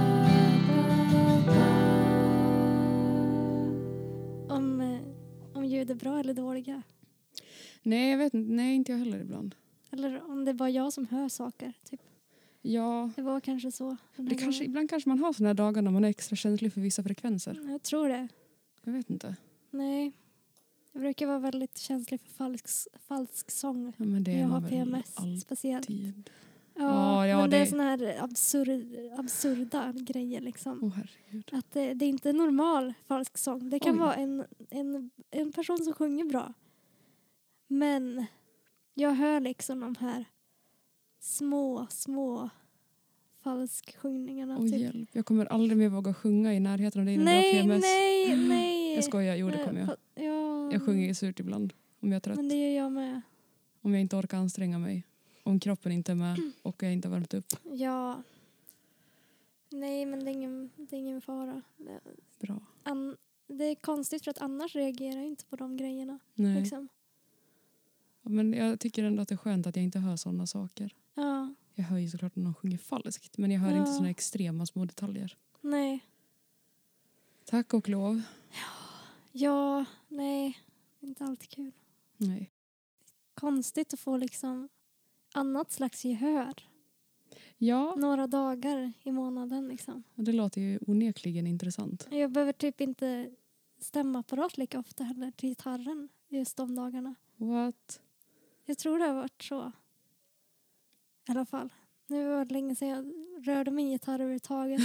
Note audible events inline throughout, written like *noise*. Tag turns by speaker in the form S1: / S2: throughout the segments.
S1: eh, det bra eller dåliga?
S2: Nej, jag vet inte. Nej, inte jag heller ibland.
S1: Eller om det är bara jag som hör saker. Typ.
S2: Ja,
S1: Det var kanske så. eh, den här
S2: det kanske,
S1: gången.
S2: ibland kanske man har såna här dagar när man är extra känslig för vissa frekvenser.
S1: Jag tror det.
S2: Jag vet inte.
S1: Nej. Jag brukar vara väldigt känslig för falsk, falsk sång.
S2: Ja, men det
S1: när
S2: är
S1: jag
S2: man
S1: har
S2: väl
S1: PMS speciellt.
S2: alltid.
S1: Ja,
S2: Ja, ja,
S1: men det, är
S2: det-
S1: såna här absurd, absurda grejer liksom.
S2: Åh herregud.
S1: Att det, det är inte en normal falsk sång. Det kan
S2: Oj.
S1: vara en, en, en person som sjunger bra. Men jag hör liksom de här små, små falsksjungningarna.
S2: Åh
S1: typ.
S2: hjälp. Jag kommer aldrig mer våga sjunga i närheten av dig när du har
S1: Nej,
S2: PMS.
S1: nej, nej.
S2: *gasps* Jag skojar, jo det
S1: Nej,
S2: kommer jag.
S1: fa- Ja,
S2: Jag sjunger ju surt ibland. Om jag är trött.
S1: Men det gör jag med.
S2: Om jag inte orkar anstränga mig. Om kroppen inte är med
S1: Mm.
S2: och jag inte har värmt upp.
S1: Ja. Nej, men det är ingen, det är ingen fara. Det-
S2: Bra.
S1: An, det är konstigt för att annars reagerar jag inte på de grejerna.
S2: Nej.
S1: Liksom.
S2: Men jag tycker ändå att det är skönt att jag inte hör sådana saker.
S1: Ja,
S2: Jag hör ju såklart när någon sjunger falskt. Men jag hör inte
S1: Ja.
S2: sådana extrema små detaljer.
S1: nej.
S2: Tack och lov.
S1: Ja, nej. Inte alltid kul.
S2: Nej.
S1: Konstigt att få liksom annat slags gehör.
S2: Ja,
S1: Några dagar i månaden liksom.
S2: det låter ju onekligen intressant.
S1: Jag behöver typ inte stämapparat lika ofta heller till gitarren just de dagarna.
S2: What?
S1: Jag tror det har varit så. I alla fall. Nu var det länge sedan jag rörde min gitarr
S2: *laughs*
S1: överhuvudtaget.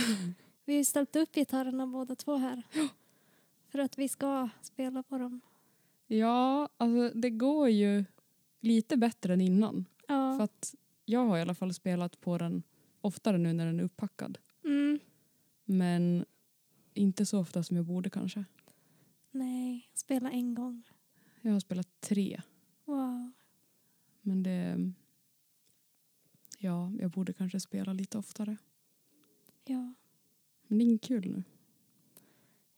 S1: vi har ju ställt upp gitarrerna båda två
S2: *gasps*
S1: här. För att vi ska spela på dem.
S2: Ja, alltså det går ju lite bättre än innan. För
S1: Ja.
S2: att jag har i alla fall spelat på den oftare nu när den är upppackad.
S1: Mm.
S2: Men inte så ofta som jag borde kanske.
S1: Nej, spela en gång.
S2: Jag har spelat tre.
S1: Wow.
S2: Men det... Ja, jag borde kanske spela lite oftare.
S1: Ja.
S2: Men det är inget kul nu.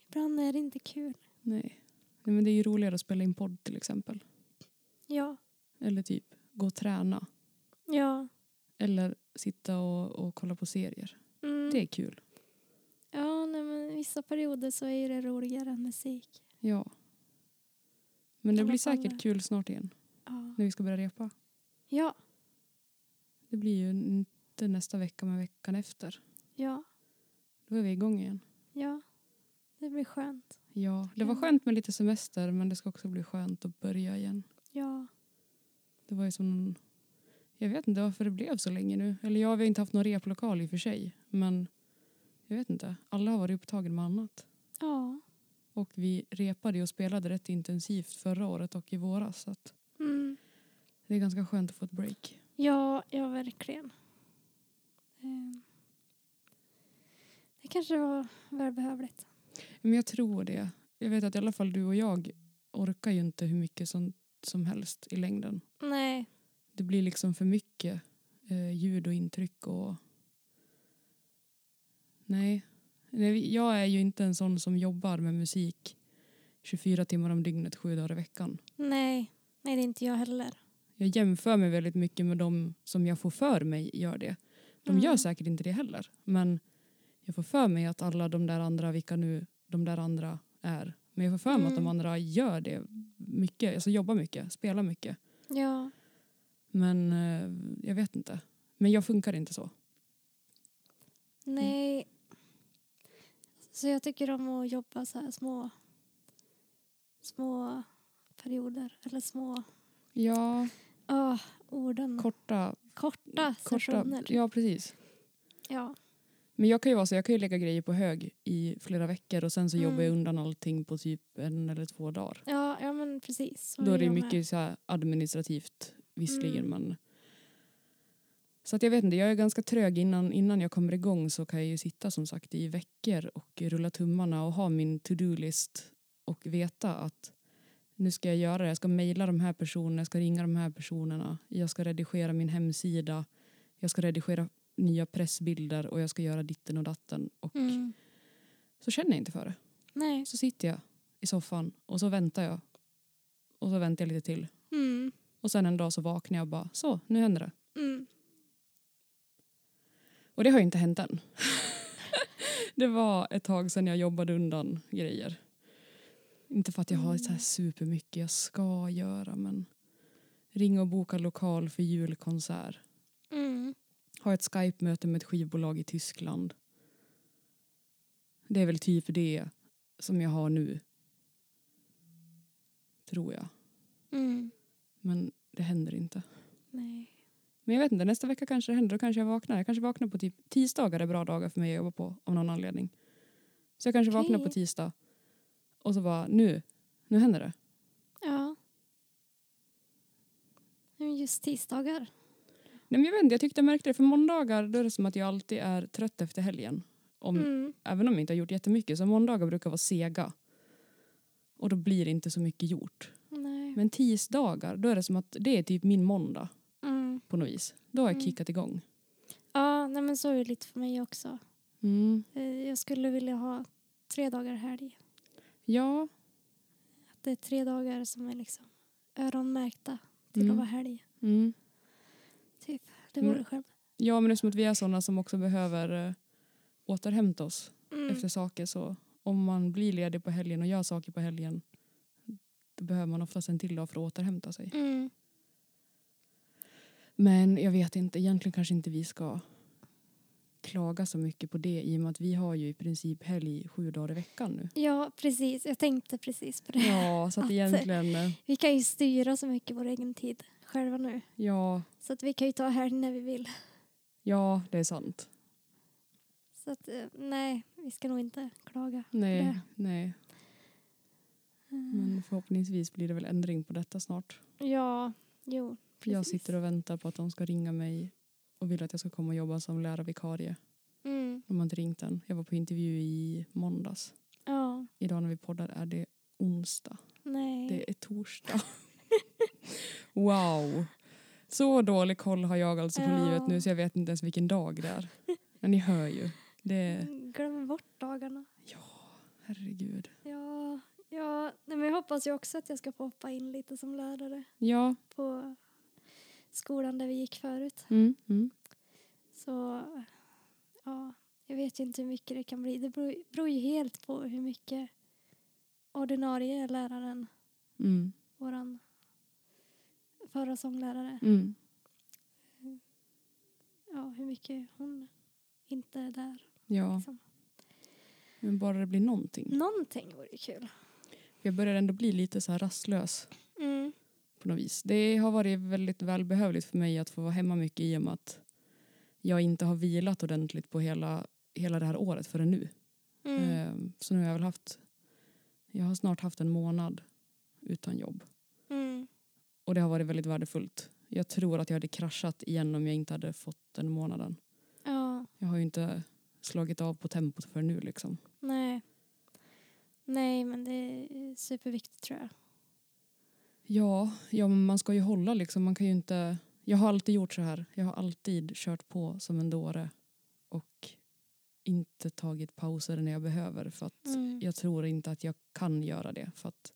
S1: Ibland är det inte kul.
S2: Nej. Nej men det är ju roligare att spela in podd till exempel.
S1: Ja.
S2: Eller typ gå och träna.
S1: Ja.
S2: Eller sitta och, och kolla på serier.
S1: Mm.
S2: Det är kul.
S1: Ja, nej, men vissa perioder så är ju det roligare än musik.
S2: Ja. Men det
S1: Alla
S2: blir
S1: fall det.
S2: säkert kul snart igen.
S1: Ja.
S2: När vi ska börja repa.
S1: Ja.
S2: Det blir ju inte nästa vecka men veckan efter.
S1: Ja.
S2: Då är vi igång igen.
S1: Ja. Det blir skönt.
S2: Ja, det var
S1: Kul.
S2: skönt med lite semester men det ska också bli skönt att börja igen.
S1: Ja.
S2: Det var ju som en... Jag vet inte varför det blev så länge nu. Eller jag har ju inte haft någon replokal i och för sig. Men jag vet inte. Alla har varit upptagen med annat.
S1: Ja.
S2: Och vi repade och spelade rätt intensivt förra året och i våras. Så att
S1: Mm.
S2: det är ganska skönt att få ett break.
S1: Ja, ja verkligen. Ehm. Det kanske var välbehövligt.
S2: Men jag tror det. Jag vet att i alla fall du och jag orkar ju inte hur mycket som, som helst i längden.
S1: Nej.
S2: Det blir liksom för mycket eh, ljud och intryck och... Nej. Nej. Jag är ju inte en sån som jobbar med musik 24 timmar om dygnet, sju dagar i veckan.
S1: Nej. Nej, det är inte jag heller.
S2: Jag jämför mig väldigt mycket med de som jag får för mig gör det. De
S1: Mm.
S2: gör säkert inte det heller, men jag får för mig att alla de där andra, vilka nu de där andra är, men jag får för mig att
S1: Mm.
S2: de andra gör det mycket, alltså jobbar mycket, spelar mycket.
S1: Ja.
S2: Men eh, jag vet inte. Men jag funkar inte så.
S1: Nej. Så jag tycker om att jobba så här små små perioder. Eller små
S2: Ja,
S1: oh, orden.
S2: korta,
S1: korta
S2: korta. typ.
S1: sessioner.
S2: Ja, precis.
S1: Ja.
S2: Men jag kan ju vara så, jag kan ju lägga grejer på hög i flera veckor och sen så
S1: Mm.
S2: jobbar jag undan allting på typ en eller två dagar.
S1: Ja, ja, men precis. Så
S2: Då är det ju
S1: jag med.
S2: mycket så här administrativt visserligen
S1: Mm.
S2: men så att jag vet inte, jag är ganska trög innan, innan jag kommer igång så kan jag ju sitta som sagt i veckor och rulla tummarna och ha min to-do-list och veta att nu ska jag göra det, jag ska mejla de här personerna, jag ska ringa de här personerna, jag ska redigera min hemsida, jag ska redigera nya pressbilder och jag ska göra ditten och datten och
S1: Mm.
S2: så känner jag inte för det.
S1: Nej.
S2: Så sitter jag i soffan och så väntar jag och så väntar jag lite till
S1: Mm.
S2: och sen en dag så vaknar jag och bara så, nu händer det.
S1: Mm.
S2: Och det har ju inte hänt än. *laughs* det var ett tag sedan jag jobbade undan grejer. Inte för att jag har
S1: Mm.
S2: så här supermycket jag ska göra men ringa och boka lokal för julkonsert.
S1: Mm.
S2: Ha ett Skype-möte med ett skivbolag i Tyskland. Det är väl typ det som jag har nu. Tror jag.
S1: Mm.
S2: Men det händer inte.
S1: Nej.
S2: Men jag vet inte, nästa vecka kanske det händer. Då kanske jag vaknar. Jag kanske vaknar på typ tisdagar är bra dagar för mig att jobba på av någon anledning. Så jag kanske
S1: Okej.
S2: vaknar på tisdag och så bara nu, nu händer det.
S1: Ja. Men Just tisdagar.
S2: Nej men jag vet inte, jag tyckte jag märkte det. För måndagar då är det som att jag alltid är trött efter helgen. Om,
S1: Mm.
S2: Även om jag inte har gjort jättemycket. Så måndagar brukar vara sega. Och då blir det inte så mycket gjort.
S1: Nej.
S2: Men tisdagar, då är det som att det är typ min måndag
S1: Mm.
S2: på något vis. Då har jag
S1: Mm.
S2: kickat igång.
S1: Ja, nej men så är det lite för mig också.
S2: Mm.
S1: Eh, Jag skulle vilja ha tre dagar helg.
S2: Ja,
S1: Att det är tre dagar som är liksom öronmärkta till
S2: Mm.
S1: att vara helg.
S2: mm.
S1: Typ. Det vore
S2: Mm.
S1: skönt.
S2: Ja, men det är som att vi är sådana som också behöver eh, återhämta oss
S1: Mm.
S2: efter saker. Så om man blir ledig på helgen och gör saker på helgen då behöver man oftast en till dag för att återhämta sig.
S1: Mm.
S2: Men jag vet inte, egentligen kanske inte vi ska klaga så mycket på det i och med att vi har ju i princip helg sju dagar i veckan
S1: *laughs*
S2: nu.
S1: Ja, precis. Jag tänkte precis på det.
S2: Ja, så att
S1: Att-
S2: egentligen, eh,
S1: Vi kan ju styra så mycket vår egen tid själva nu.
S2: ja,
S1: Så att vi kan ju ta helg när vi vill.
S2: ja, det är sant.
S1: Så att eh, nej, vi ska nog inte klaga.
S2: Nej,
S1: Det.
S2: nej,
S1: Mm.
S2: men förhoppningsvis blir det väl ändring på detta snart.
S1: Ja, jo.
S2: För Jag
S1: precis.
S2: sitter och väntar på att de ska ringa mig och vill att jag ska komma och jobba som lärarvikarie.
S1: Mm.
S2: De har inte ringt än. Jag var på intervju i måndags.
S1: Ja,
S2: Idag när vi poddar är det onsdag.
S1: nej.
S2: Det är torsdag. *laughs* wow. Så dålig koll har jag alltså på
S1: Ja.
S2: livet nu så jag vet inte ens vilken dag det är. Men ni hör ju. Det
S1: Mm.
S2: är,
S1: Glöm bort dagarna.
S2: herregud.
S1: Ja, ja. Nej, men jag hoppas ju också att jag ska få hoppa in lite som lärare
S2: Ja.
S1: på skolan där vi gick förut.
S2: Mm. Mm.
S1: Så ja, jag vet ju inte hur mycket det kan bli. Det beror, beror ju helt på hur mycket ordinarie läraren,
S2: Mm.
S1: våran förra sånglärare,
S2: Mm.
S1: ja, hur mycket hon inte är där.
S2: Ja.
S1: Liksom.
S2: Men bara det blir
S1: Mm.
S2: någonting.
S1: Någonting vore ju kul.
S2: Jag börjar ändå bli lite så här rastlös.
S1: Mm.
S2: på något vis. Det har varit väldigt välbehövligt för mig att få vara hemma mycket i och med att jag inte har vilat ordentligt på hela, hela det här året förrän nu.
S1: Mm.
S2: Ehm, Så nu har jag väl haft, jag har snart haft en månad utan jobb
S1: Mm.
S2: och det har varit väldigt värdefullt. Jag tror att jag hade kraschat igen om jag inte hade fått den månaden.
S1: Ja,
S2: Jag har ju inte slagit av på tempot för nu liksom.
S1: nej. Nej, men det är superviktigt tror jag.
S2: Ja, ja men man ska ju hålla liksom. Man kan ju inte... Jag har alltid gjort så här. Jag har alltid kört på som en dåre och inte tagit pauser när jag behöver för att
S1: Mm.
S2: jag tror inte att jag kan göra det för att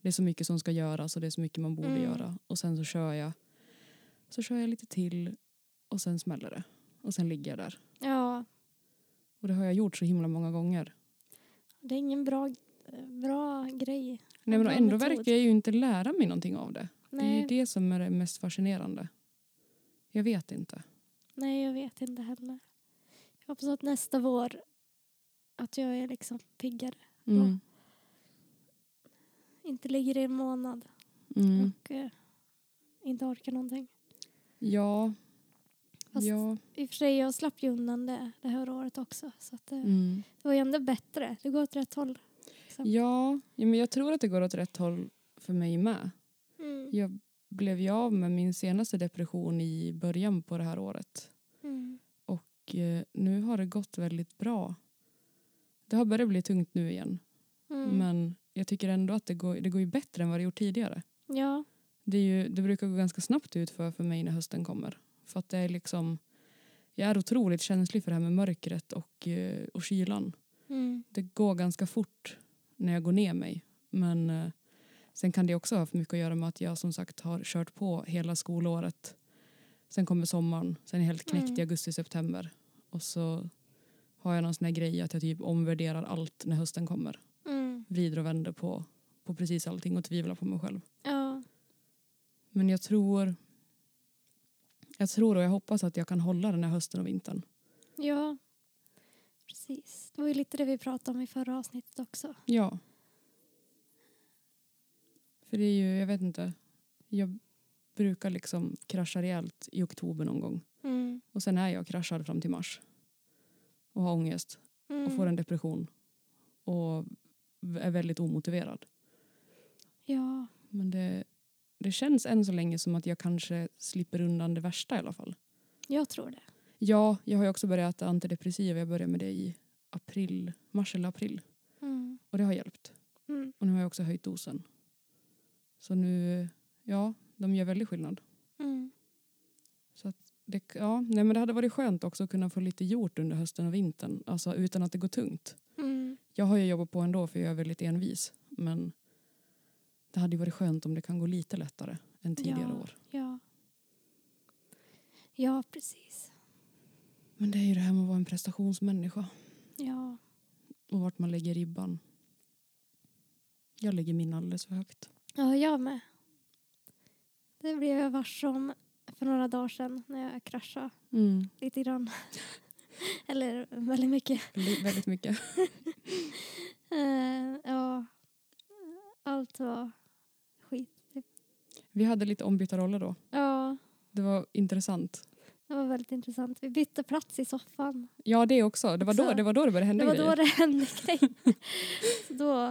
S2: det är så mycket som ska göras och det är så mycket man borde
S1: Mm.
S2: göra och sen så kör jag så kör jag lite till och sen smäller det och sen ligger jag där
S1: Ja,
S2: och det har jag gjort så himla många gånger.
S1: det är ingen bra, bra grej.
S2: Nej,
S1: En
S2: men
S1: bra
S2: ändå
S1: metod.
S2: verkar jag ju inte lära mig någonting av det. Det är
S1: Nej,
S2: ju det som är det mest fascinerande. Jag vet inte.
S1: nej, jag vet inte heller. Jag hoppas att nästa vår att jag är liksom piggare.
S2: Mm.
S1: Inte ligger i en månad
S2: Mm.
S1: och eh, inte orkar någonting.
S2: Ja.
S1: Fast-
S2: ja.
S1: I och för sig, jag slapp ju undan det det här året också. Så att, eh,
S2: Mm.
S1: det var ju ändå bättre. Det går åt rätt håll. Liksom.
S2: Ja, ja men jag tror att det går åt rätt håll för mig med.
S1: Mm.
S2: Jag blev ju av med min senaste depression i början på det här året.
S1: Mm.
S2: Och eh, nu har det gått väldigt bra. Det har börjat bli tungt nu igen.
S1: Mm.
S2: Men jag tycker ändå att det går, det går ju bättre än vad det gjort tidigare.
S1: Ja.
S2: Det, är ju, det brukar gå ganska snabbt ut för, för mig när hösten kommer. För att det är liksom, jag är otroligt känslig för det här med mörkret och, eh, och kylan.
S1: Mm.
S2: det går ganska fort när jag går ner mig. Men eh, sen kan det också ha för mycket att göra med att jag som sagt har kört på hela skolåret. Sen kommer sommaren, sen är jag helt knäckt i
S1: Mm.
S2: augusti-september. Och så har jag någon sån här grej att jag typ omvärderar allt när hösten kommer.
S1: Mm.
S2: Vrider och vänder på, på precis allting och tvivla på mig själv.
S1: Ja.
S2: Men jag tror... Jag tror och jag hoppas att jag kan hålla den här hösten och vintern.
S1: Ja. Precis. Det var ju lite det vi pratade om i förra avsnittet också.
S2: Ja. För det är ju, jag vet inte. Jag brukar liksom krascha rejält i oktober någon gång.
S1: Mm.
S2: Och sen är jag kraschad fram till mars. Och har ångest.
S1: Mm.
S2: Och får en depression. Och är väldigt omotiverad.
S1: Ja.
S2: Men det, det känns än så länge som att jag kanske slipper undan det värsta i alla fall.
S1: Jag tror det.
S2: Ja, jag har ju också börjat äta antidepressiva. Jag började med det i april, mars eller april.
S1: Mm.
S2: Och det har hjälpt.
S1: Mm.
S2: Och nu har jag också höjt dosen. Så nu, ja, de gör väldigt skillnad.
S1: Mm.
S2: Det, ja, nej men det hade varit skönt också att kunna få lite gjort under hösten och vintern. Alltså utan att det går tungt.
S1: Mm.
S2: Jag har ju jobbat på ändå för jag är väldigt envis. Men det hade ju varit skönt om det kan gå lite lättare än tidigare
S1: Ja.
S2: år.
S1: Ja. Ja, precis.
S2: Men det är ju det här med att vara en prestationsmänniska.
S1: Ja.
S2: Och vart man lägger ribban. Jag lägger min alldeles för högt.
S1: Ja, jag med. Det blev jag varse om för några dagar sedan när jag kraschade
S2: Mm.
S1: lite grann. *laughs* Eller väldigt mycket.
S2: Väldigt, väldigt mycket.
S1: Eh, ja, allt var skit.
S2: Vi hade lite ombytta roller då.
S1: Ja,
S2: Det var intressant.
S1: det var väldigt intressant. Vi bytte plats i soffan.
S2: Ja, det också. Det var, då,
S1: Också.
S2: det var då det började
S1: Det
S2: hända
S1: var
S2: grejer.
S1: då det hände grejer. Så då,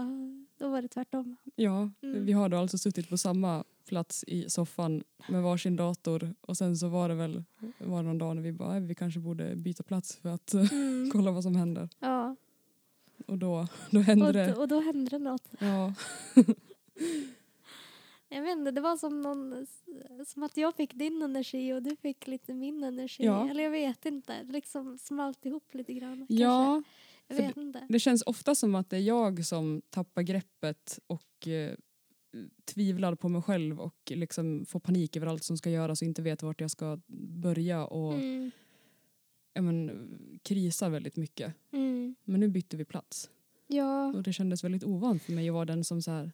S1: då var det tvärtom.
S2: Ja,
S1: Mm.
S2: Vi har då alltså suttit på samma plats i soffan med varsin dator och sen så var det väl var det någon dag när vi bara "Äh, vi kanske borde byta plats för att *laughs* eh,
S1: Mm.
S2: kolla vad som händer.
S1: Ja,
S2: Och då, då hände
S1: och, då-
S2: det.
S1: och då hände det något.
S2: Ja,
S1: Jag vet inte, det var som, någon, som att jag fick din energi och du fick lite min energi.
S2: Ja.
S1: Eller jag vet inte, det liksom smalt ihop lite grann. kanske.
S2: ja
S1: jag
S2: för
S1: vet inte.
S2: det känns ofta som att det är jag som tappar greppet och eh, tvivlar på mig själv och liksom får panik över allt som ska göras och inte vet vart jag ska börja och
S1: Mm.
S2: ja, men, krisar väldigt mycket.
S1: Mm.
S2: Men nu bytte vi plats.
S1: Ja.
S2: Och det kändes väldigt ovant för mig att vara den som så här,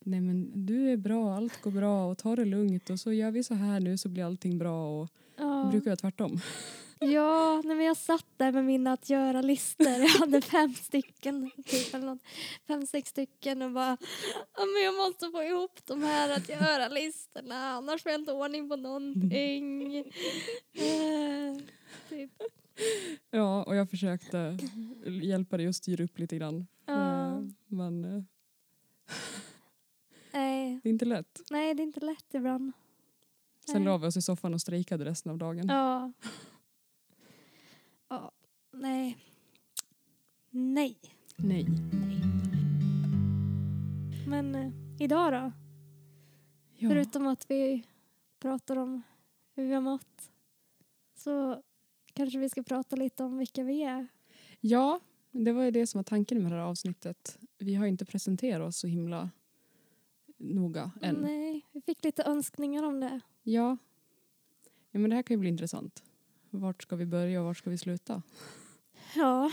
S2: nej men du är bra, allt går bra och ta det lugnt och så gör vi så här nu så blir allting bra och
S1: ja.
S2: brukar jag tvärtom.
S1: Ja, nej, men jag satt där med mina att göra-listor. Jag
S2: *laughs*
S1: hade fem stycken, typ, eller något. fem, sex stycken och bara ja, men jag måste få ihop de här att göra-listorna annars får jag inte ordning på någonting.
S2: *laughs*
S1: Eh, typ.
S2: Ja, och jag försökte hjälpa dig att styra upp lite grann.
S1: ja.
S2: Eh, Men eh,
S1: nej.
S2: det är inte lätt.
S1: nej, det är inte lätt ibland.
S2: Sen
S1: Nej.
S2: la vi oss i soffan och strejkade resten av dagen.
S1: Ja. ja. Nej. Nej.
S2: Nej.
S1: Men eh, idag då?
S2: Ja.
S1: Förutom att vi pratar om hur vi har mått så kanske vi ska prata lite om vilka vi är.
S2: ja, det var ju det som var tanken med det här avsnittet. Vi har ju inte presenterat oss så himla noga än.
S1: Nej, eh, vi fick lite önskningar om det.
S2: Ja. ja, men det här kan ju bli intressant. Vart ska vi börja och vart ska vi sluta?
S1: Ja,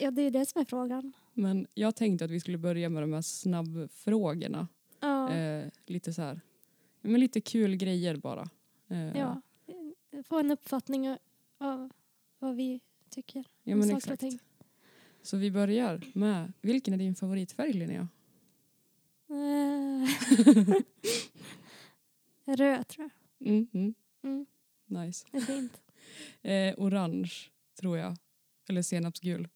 S1: ja det är ju det som är frågan.
S2: Men jag tänkte att vi skulle börja med de här snabbfrågorna.
S1: Ja,
S2: Eh, lite så här, ja, men lite kul grejer bara. Eh,
S1: ja. Få en uppfattning av vad vi tycker.
S2: ja
S1: om
S2: men
S1: saker och
S2: exakt.
S1: ting.
S2: Så vi börjar med, vilken är din favoritfärg Linnea?
S1: Eh, *laughs* Röd tror jag.
S2: Mm, mm,
S1: Mm,
S2: nice.
S1: det är
S2: *laughs*
S1: fint.
S2: Eh, orange tror jag, eller senapsgul.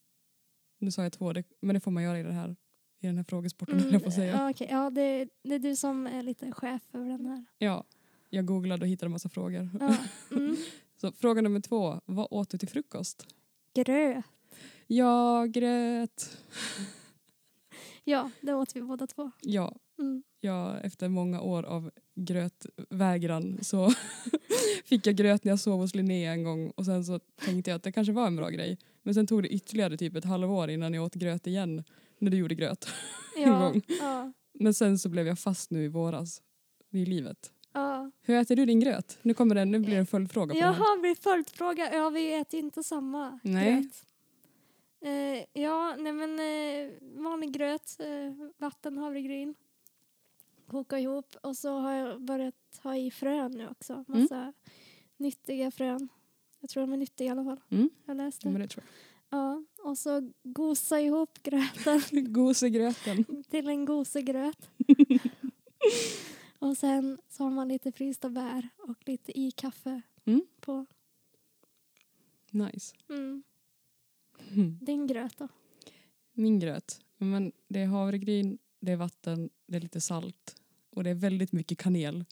S2: Nu sa jag två, det, men det får man göra i, det här, i den här frågesporten höll jag på att säga.
S1: Mm, ja, okej. ja, det, det är du som är lite chef över den
S2: *laughs*
S1: här.
S2: Ja, jag googlade och hittade en massa frågor.
S1: Ja. Mm.
S2: Så fråga nummer två, vad åt du till frukost?
S1: Gröt.
S2: Ja, gröt.
S1: Ja, det åt vi båda två.
S2: Ja,
S1: Mm.
S2: ja, efter många år av grötvägran så *laughs* fick jag gröt när jag sov hos Linnea en gång och sen så tänkte jag att det kanske var en bra grej. Men sen tog det ytterligare typ ett halvår innan jag åt gröt igen när du gjorde gröt. *laughs*
S1: Ja,
S2: gång.
S1: ja,
S2: Men sen så blev jag fast nu i våras i livet.
S1: ja.
S2: Hur äter du din gröt? Nu kommer den, nu blir det en följdfråga på den här.
S1: Jaha, blir följdfråga. Ja, vi äter ju inte samma
S2: Nej.
S1: gröt. Eh, ja, nej men eh, vanlig gröt, eh, vatten, havregryn, koka ihop. Och så har jag börjat ha i frön nu också.
S2: Mm.
S1: Massa nyttiga frön. Jag tror de är nyttiga i alla fall.
S2: Mm.
S1: Jag läste.
S2: Ja, men
S1: Ja,
S2: det tror
S1: och så gosa ihop gröten *laughs*
S2: jag. *laughs* Gosegröten.
S1: till en
S2: *laughs*
S1: gosegröt. och sen så har man lite frysta bär och lite i kaffe
S2: Mm.
S1: på.
S2: Nice.
S1: Mm.
S2: Mm.
S1: Din gröt då?
S2: Min gröt. Men det är havregryn, det är vatten, det är lite salt och det är väldigt mycket kanel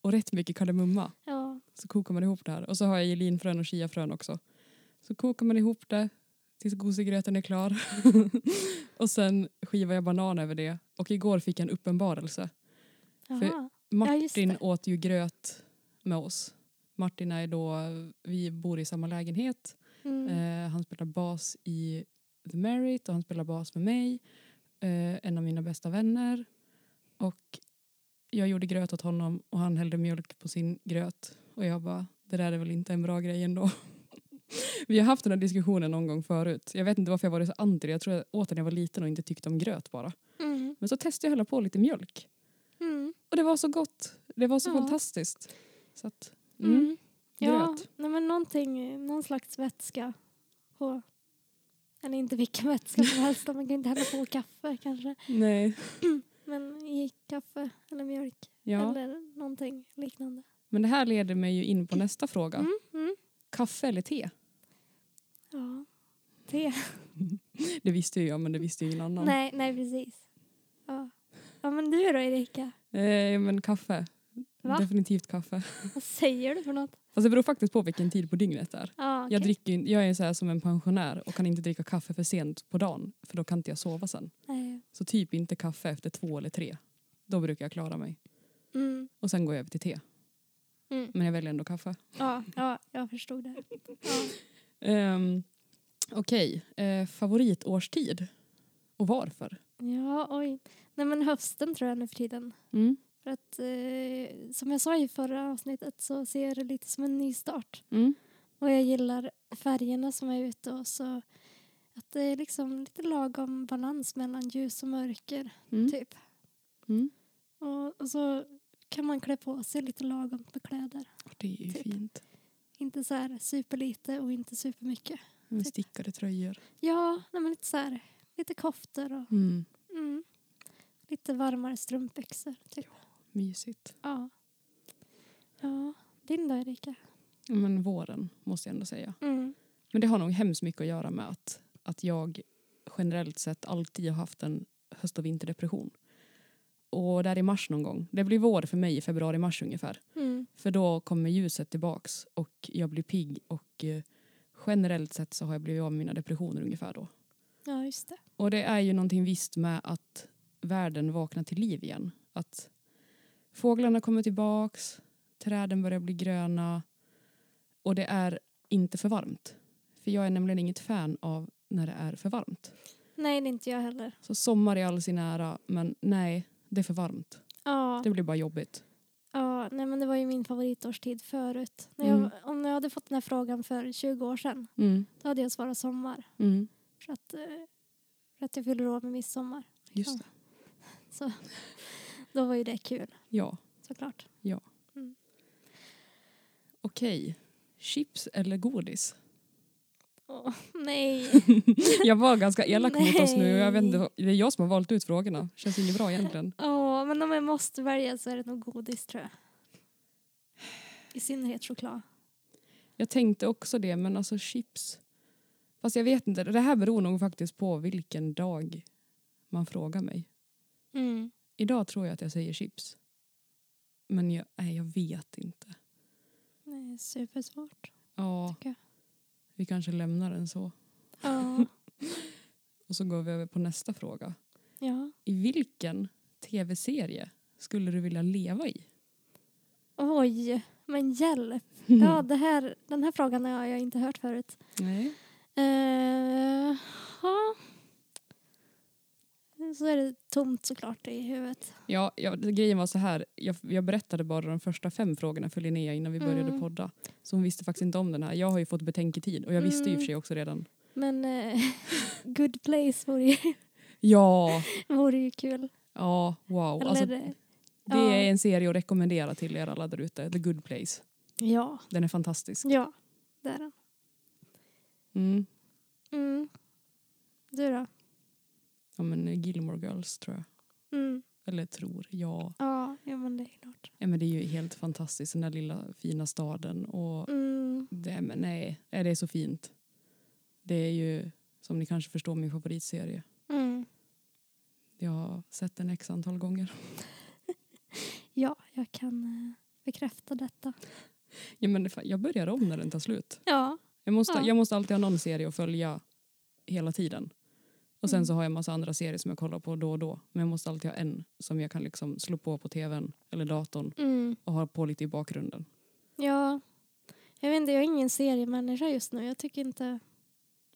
S2: och rätt mycket kardemumma.
S1: Ja,
S2: Så kokar man ihop det här. Och så har jag gelinfrön och chiafrön också. Så kokar man ihop det tills gosegröten är klar. *laughs* och sen skivar jag banan över det. Och igår fick jag en uppenbarelse. För-
S1: jaha. Ja, just
S2: Martin
S1: det.
S2: åt ju gröt med oss. Martin är då, vi bor i samma lägenhet.
S1: Mm.
S2: Eh, han spelar bas i The Merit och han spelar bas med mig. Eh, en av mina bästa vänner. Och jag gjorde gröt åt honom och han hällde mjölk på sin gröt. Och jag bara, det där är väl inte en bra grej ändå. *laughs* Vi har haft den här diskussionen någon gång förut. Jag vet inte varför jag var så anti det. Jag tror jag åt den när jag var liten och inte tyckte om gröt bara.
S1: Mm.
S2: Men så testade jag att hälla på lite mjölk.
S1: Mm.
S2: Och det var så gott. Det var så
S1: Ja.
S2: fantastiskt. Så att, mm.
S1: Mm. Ja,
S2: Gröt.
S1: nej men någonting, någon slags vätska på. Eller inte vilken vätska som helst, man kan inte hälla på kaffe kanske.
S2: Nej.
S1: Men i kaffe eller mjölk
S2: Ja.
S1: eller någonting liknande.
S2: Men det här leder mig ju in på nästa fråga.
S1: Mm, mm.
S2: Kaffe eller te?
S1: Ja, te.
S2: Det visste ju jag, men det visste ju ingen annan.
S1: Nej, nej precis. Ja. ja, men du då Erika?
S2: Eh, men kaffe.
S1: Va?
S2: Definitivt kaffe.
S1: Vad säger du för något?
S2: Fast det beror faktiskt på vilken tid på dygnet det är.
S1: Ja, okej.
S2: Jag, dricker, ju- jag är så här som en pensionär och kan inte dricka kaffe för sent på dagen för då kan inte jag sova sen.
S1: Nej.
S2: Så typ inte kaffe efter två eller tre. Då brukar jag klara mig.
S1: Mm.
S2: Och sen går jag över till te.
S1: Mm.
S2: Men jag väljer ändå kaffe.
S1: Ja, ja, jag förstod det. Ja.
S2: Ehm, Okej, eh, favoritårstid och varför?
S1: ja, oj. Nej men hösten tror jag nu för tiden.
S2: Mm.
S1: För att eh, som jag sa i förra avsnittet så ser jag det lite som en ny start.
S2: Mm.
S1: Och jag gillar färgerna som är ute och så att det är liksom lite lagom balans mellan ljus och mörker
S2: Mm.
S1: typ.
S2: Mm.
S1: Och, och så kan man klä på sig lite lagom med kläder.
S2: Det är ju
S1: Typ.
S2: fint.
S1: Inte så här superlite och inte supermycket.
S2: Med
S1: Typ.
S2: stickade tröjor.
S1: Ja, nej men lite så här, lite koftor och
S2: Mm.
S1: mm, lite varmare strumpbyxor typ.
S2: Mysigt.
S1: Ja. Ja, din då Erika?
S2: Men våren måste jag ändå säga.
S1: Mm.
S2: Men det har nog hemskt mycket att göra med att, att jag generellt sett alltid har haft en höst och vinterdepression. Och där i mars någon gång. Det blir vår för mig i februari-mars ungefär.
S1: Mm.
S2: För då kommer ljuset tillbaks och jag blir pigg och eh, generellt sett så har jag blivit av med mina depressioner ungefär då.
S1: Ja, just det.
S2: Och det är ju någonting visst med att världen vaknar till liv igen. Att fåglarna kommer tillbaks, träden börjar bli gröna och det är inte för varmt. För jag är nämligen inget fan av när det är för varmt.
S1: Nej, det är inte jag heller.
S2: Så sommar i all sin ära, men nej, det är för varmt.
S1: Ja,
S2: Det blir bara jobbigt.
S1: ja nej, men det var ju min favoritårstid förut. När
S2: Mm.
S1: jag, om jag hade fått den här frågan för 20 år sedan,
S2: Mm,
S1: då hade jag svarat sommar.
S2: mm,
S1: För att, eh, för att jag fyller år med midsommar.
S2: just det.
S1: Så då var ju det kul,
S2: Ja,
S1: såklart.
S2: okej. Chips eller godis?
S1: Åh, nej.
S2: Jag var ganska elak mot oss nu. Jag vet inte,
S1: Nej.
S2: det är jag som har valt ut frågorna. Känns inget bra egentligen.
S1: *laughs* Åh, men om jag måste välja så är det nog godis, tror jag. I synnerhet choklad.
S2: Jag tänkte också det, men alltså chips... Fast jag vet inte, det här beror nog faktiskt på vilken dag man frågar mig.
S1: Mm.
S2: Idag tror jag att jag säger chips. Men jag, nej, jag vet inte.
S1: Det är supersvårt,
S2: Ja,
S1: tycker jag.
S2: vi kanske lämnar den så.
S1: Ja.
S2: Och så går vi över på nästa fråga.
S1: *laughs* ja.
S2: I vilken tv-serie skulle du vilja leva i?
S1: Oj, men hjälp. Ja, det här, den här frågan har jag inte hört förut.
S2: Nej.
S1: Eh, ja. Så är det tomt såklart i huvudet.
S2: Ja, ja, det- grejen var så här. Jag, jag berättade bara de första fem frågorna för Linnea innan vi började
S1: Mm.
S2: podda. Så hon visste faktiskt inte om den här. Jag har ju fått betänketid och jag visste ju i och för
S1: Mm.
S2: sig också redan
S1: Men eh, *laughs* good place vore ju,
S2: Ja,
S1: vore ju kul.
S2: ja wow.
S1: Eller eh,
S2: Alltså, Det
S1: Ja.
S2: är en serie att rekommendera till er alla där ute. The Good Place.
S1: Ja,
S2: Den är fantastisk.
S1: ja det är den.
S2: Mm.
S1: Mm. Du då?
S2: Ja, men Gilmore Girls tror jag.
S1: Mm.
S2: Eller tror, ja.
S1: Ja, ja, men det är klart.
S2: ja men det är ju helt fantastiskt, den där lilla fina staden. Och
S1: Mm.
S2: det, men nej, nej, det är så fint. Det är ju, som ni kanske förstår, min favoritserie.
S1: Mm.
S2: Jag har sett den x antal gånger.
S1: Ja, jag kan eh, bekräfta detta.
S2: Ja, men det, fa- jag börjar om när den tar slut.
S1: Ja,
S2: Jag måste,
S1: Ja.
S2: jag måste alltid ha någon serie att följa hela tiden. Och sen
S1: Mm.
S2: så har jag massa andra serier som jag kollar på då och då. Men jag måste alltid ha en som jag kan liksom slå på på tvn eller datorn
S1: mm.
S2: och ha på lite i bakgrunden.
S1: ja. Jag vet inte, jag är ingen seriemänniska just nu. Jag tycker inte...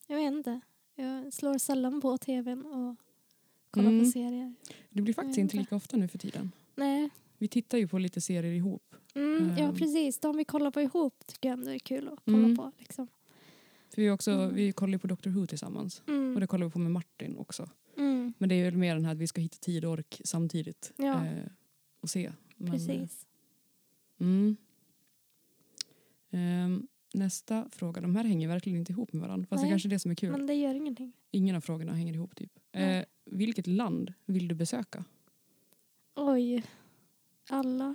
S1: Jag vet inte. Jag slår sällan på tvn och kollar på
S2: Mm.
S1: serier.
S2: Det blir faktiskt
S1: Jag
S2: inte
S1: vet.
S2: lika ofta nu för tiden.
S1: Nej.
S2: Vi tittar ju på lite serier ihop.
S1: Mm, Ja,
S2: Ehm.
S1: precis. De vi kollar på ihop tycker jag ändå är kul att kolla
S2: Mm.
S1: på. Liksom.
S2: För vi, också,
S1: Mm.
S2: vi kollar ju på Doctor Who tillsammans.
S1: Mm.
S2: Och det kollar vi på med Martin också.
S1: Mm.
S2: Men det är väl mer den här att vi ska hitta tid och ork samtidigt.
S1: Ja.
S2: eh, och se. Men, eh,
S1: Precis.
S2: Mm. Ehm, nästa fråga. De här hänger verkligen inte ihop med varandra. Fast det
S1: Nej,
S2: kanske är det som är kul.
S1: Men det gör ingenting.
S2: Ingen av frågorna hänger ihop typ.
S1: Nej.
S2: Eh, vilket land vill du besöka?
S1: Oj.
S2: *laughs*
S1: Alla.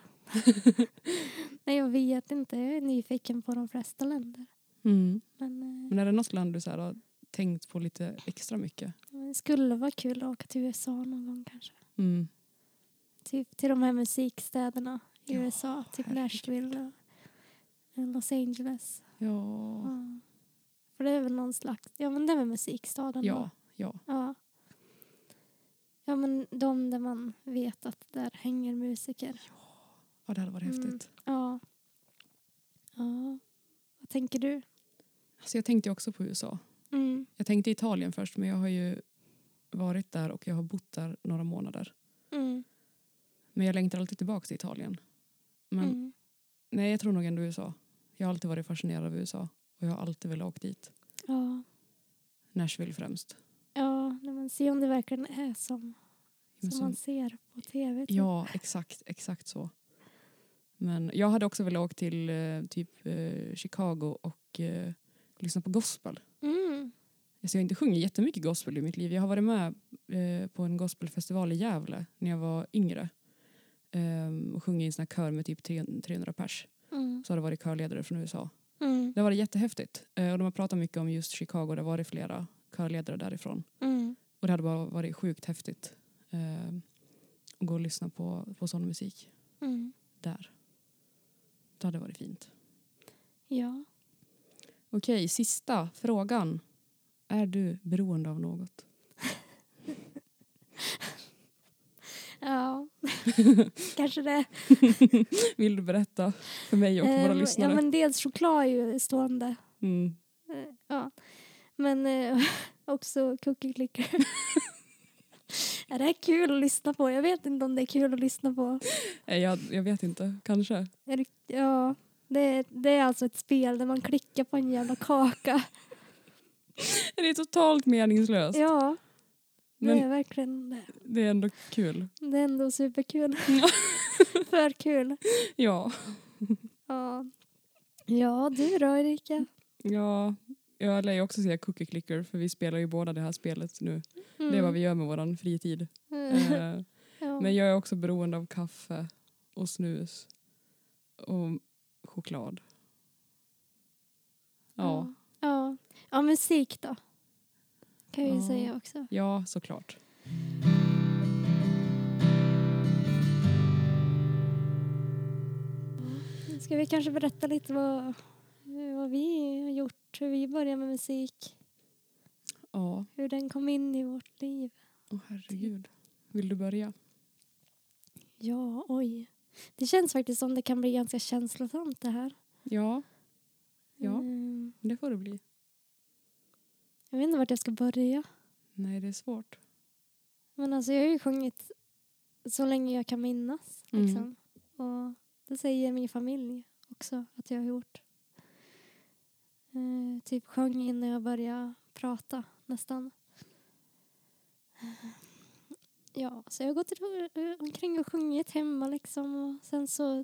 S1: Nej, jag vet inte. Jag är nyfiken på de flesta länder. Men eh,
S2: Men är det något land du så här, har tänkt på lite extra mycket?
S1: det skulle vara kul att åka till USA någon gång kanske.
S2: Mm.
S1: Typ till de här musikstäderna i
S2: Ja,
S1: USA. Typ
S2: herregud.
S1: Nashville och eh, Los Angeles.
S2: Ja.
S1: Ja. För det är väl någon slags... Ja, men det är väl musikstaden då.
S2: Ja. ja.
S1: Ja. Ja, men de där man vet att där hänger musiker.
S2: ja, det hade varit
S1: Mm.
S2: häftigt.
S1: Ja. Ja. Vad tänker du?
S2: Alltså, jag tänkte ju också på USA.
S1: Mm.
S2: Jag tänkte Italien först men jag har ju varit där och jag har bott där några månader.
S1: Mm.
S2: Men jag längtar alltid tillbaka till Italien. Men
S1: Mm.
S2: nej, jag tror nog ändå USA. Jag har alltid varit fascinerad av USA och jag har alltid velat åka dit.
S1: Ja.
S2: Nashville främst.
S1: Ja, när man ser om det verkligen är som, som
S2: Men som-
S1: man ser på tv. typ.
S2: Ja, exakt, exakt så. Men jag hade också velat åka till eh, typ eh, Chicago och eh, lyssna på gospel.
S1: Mm.
S2: Alltså jag har inte sjungit jättemycket gospel i mitt liv. Jag har varit med eh, på en gospelfestival i Gävle när jag var yngre. Ehm, och sjungit i en sån här kör med typ 300 300 pers.
S1: Mm.
S2: Så har det varit körledare från USA.
S1: Mm.
S2: Det har varit jättehäftigt. Eh, och de har pratat mycket om just Chicago. Det har varit flera körledare därifrån.
S1: Mm.
S2: Och det hade bara varit sjukt häftigt. ehm, att gå och lyssna på, på sån musik
S1: Mm.
S2: där. Det hade varit fint.
S1: Ja.
S2: Okej, sista frågan. Är du beroende av något? *laughs* *laughs*
S1: Ja. Kanske det.
S2: Vill du berätta för mig och våra
S1: Ehm,
S2: lyssnare?
S1: Ja, men dels choklad är ju stående.
S2: mm.
S1: Eh, Ja. Men eh, *laughs* också cookie
S2: *laughs*
S1: clicker. Ja, det är kul att lyssna på. Jag vet inte om det är kul att lyssna på.
S2: Nej, Eh, jag, jag vet inte, kanske.
S1: Är det, ja, det, är- det är alltså ett spel där man klickar på en jävla kaka.
S2: Det är totalt meningslöst.
S1: Ja, det är
S2: men
S1: verkligen det.
S2: det är ändå kul.
S1: Det är ändå superkul.
S2: *laughs*
S1: *laughs* För kul.
S2: Ja,
S1: Ja. ja, du då Erika?
S2: ja jag lär ju också säga cookie clicker för vi spelar ju båda det här spelet nu.
S1: Mm.
S2: Det är vad vi gör med vår fritid.
S1: Mm.
S2: Eh,
S1: *laughs* ja.
S2: men jag är också beroende av kaffe och snus och choklad. ja.
S1: Ja. ja. Ja, musik då. Kan vi ju
S2: Ja.
S1: säga också.
S2: Ja, såklart.
S1: Ska vi kanske berätta lite vad, vad vi har gjort, hur vi började med musik,
S2: Ja,
S1: hur den kom in i vårt liv.
S2: oh, herregud. Vill du börja?
S1: Ja, oj. Det känns faktiskt som det kan bli ganska känslosamt det här.
S2: Ja, Ja.
S1: Mm,
S2: det får det bli.
S1: Jag vet inte vart jag ska börja.
S2: Nej, det är svårt.
S1: Men alltså jag har ju sjungit så länge jag kan minnas.
S2: Mm.
S1: Liksom. Och det säger min familj också att jag har gjort. Eh, typ sjöng innan jag började prata nästan. Eh, Ja, så jag har gått ro- omkring och sjungit hemma liksom. Och sen, så,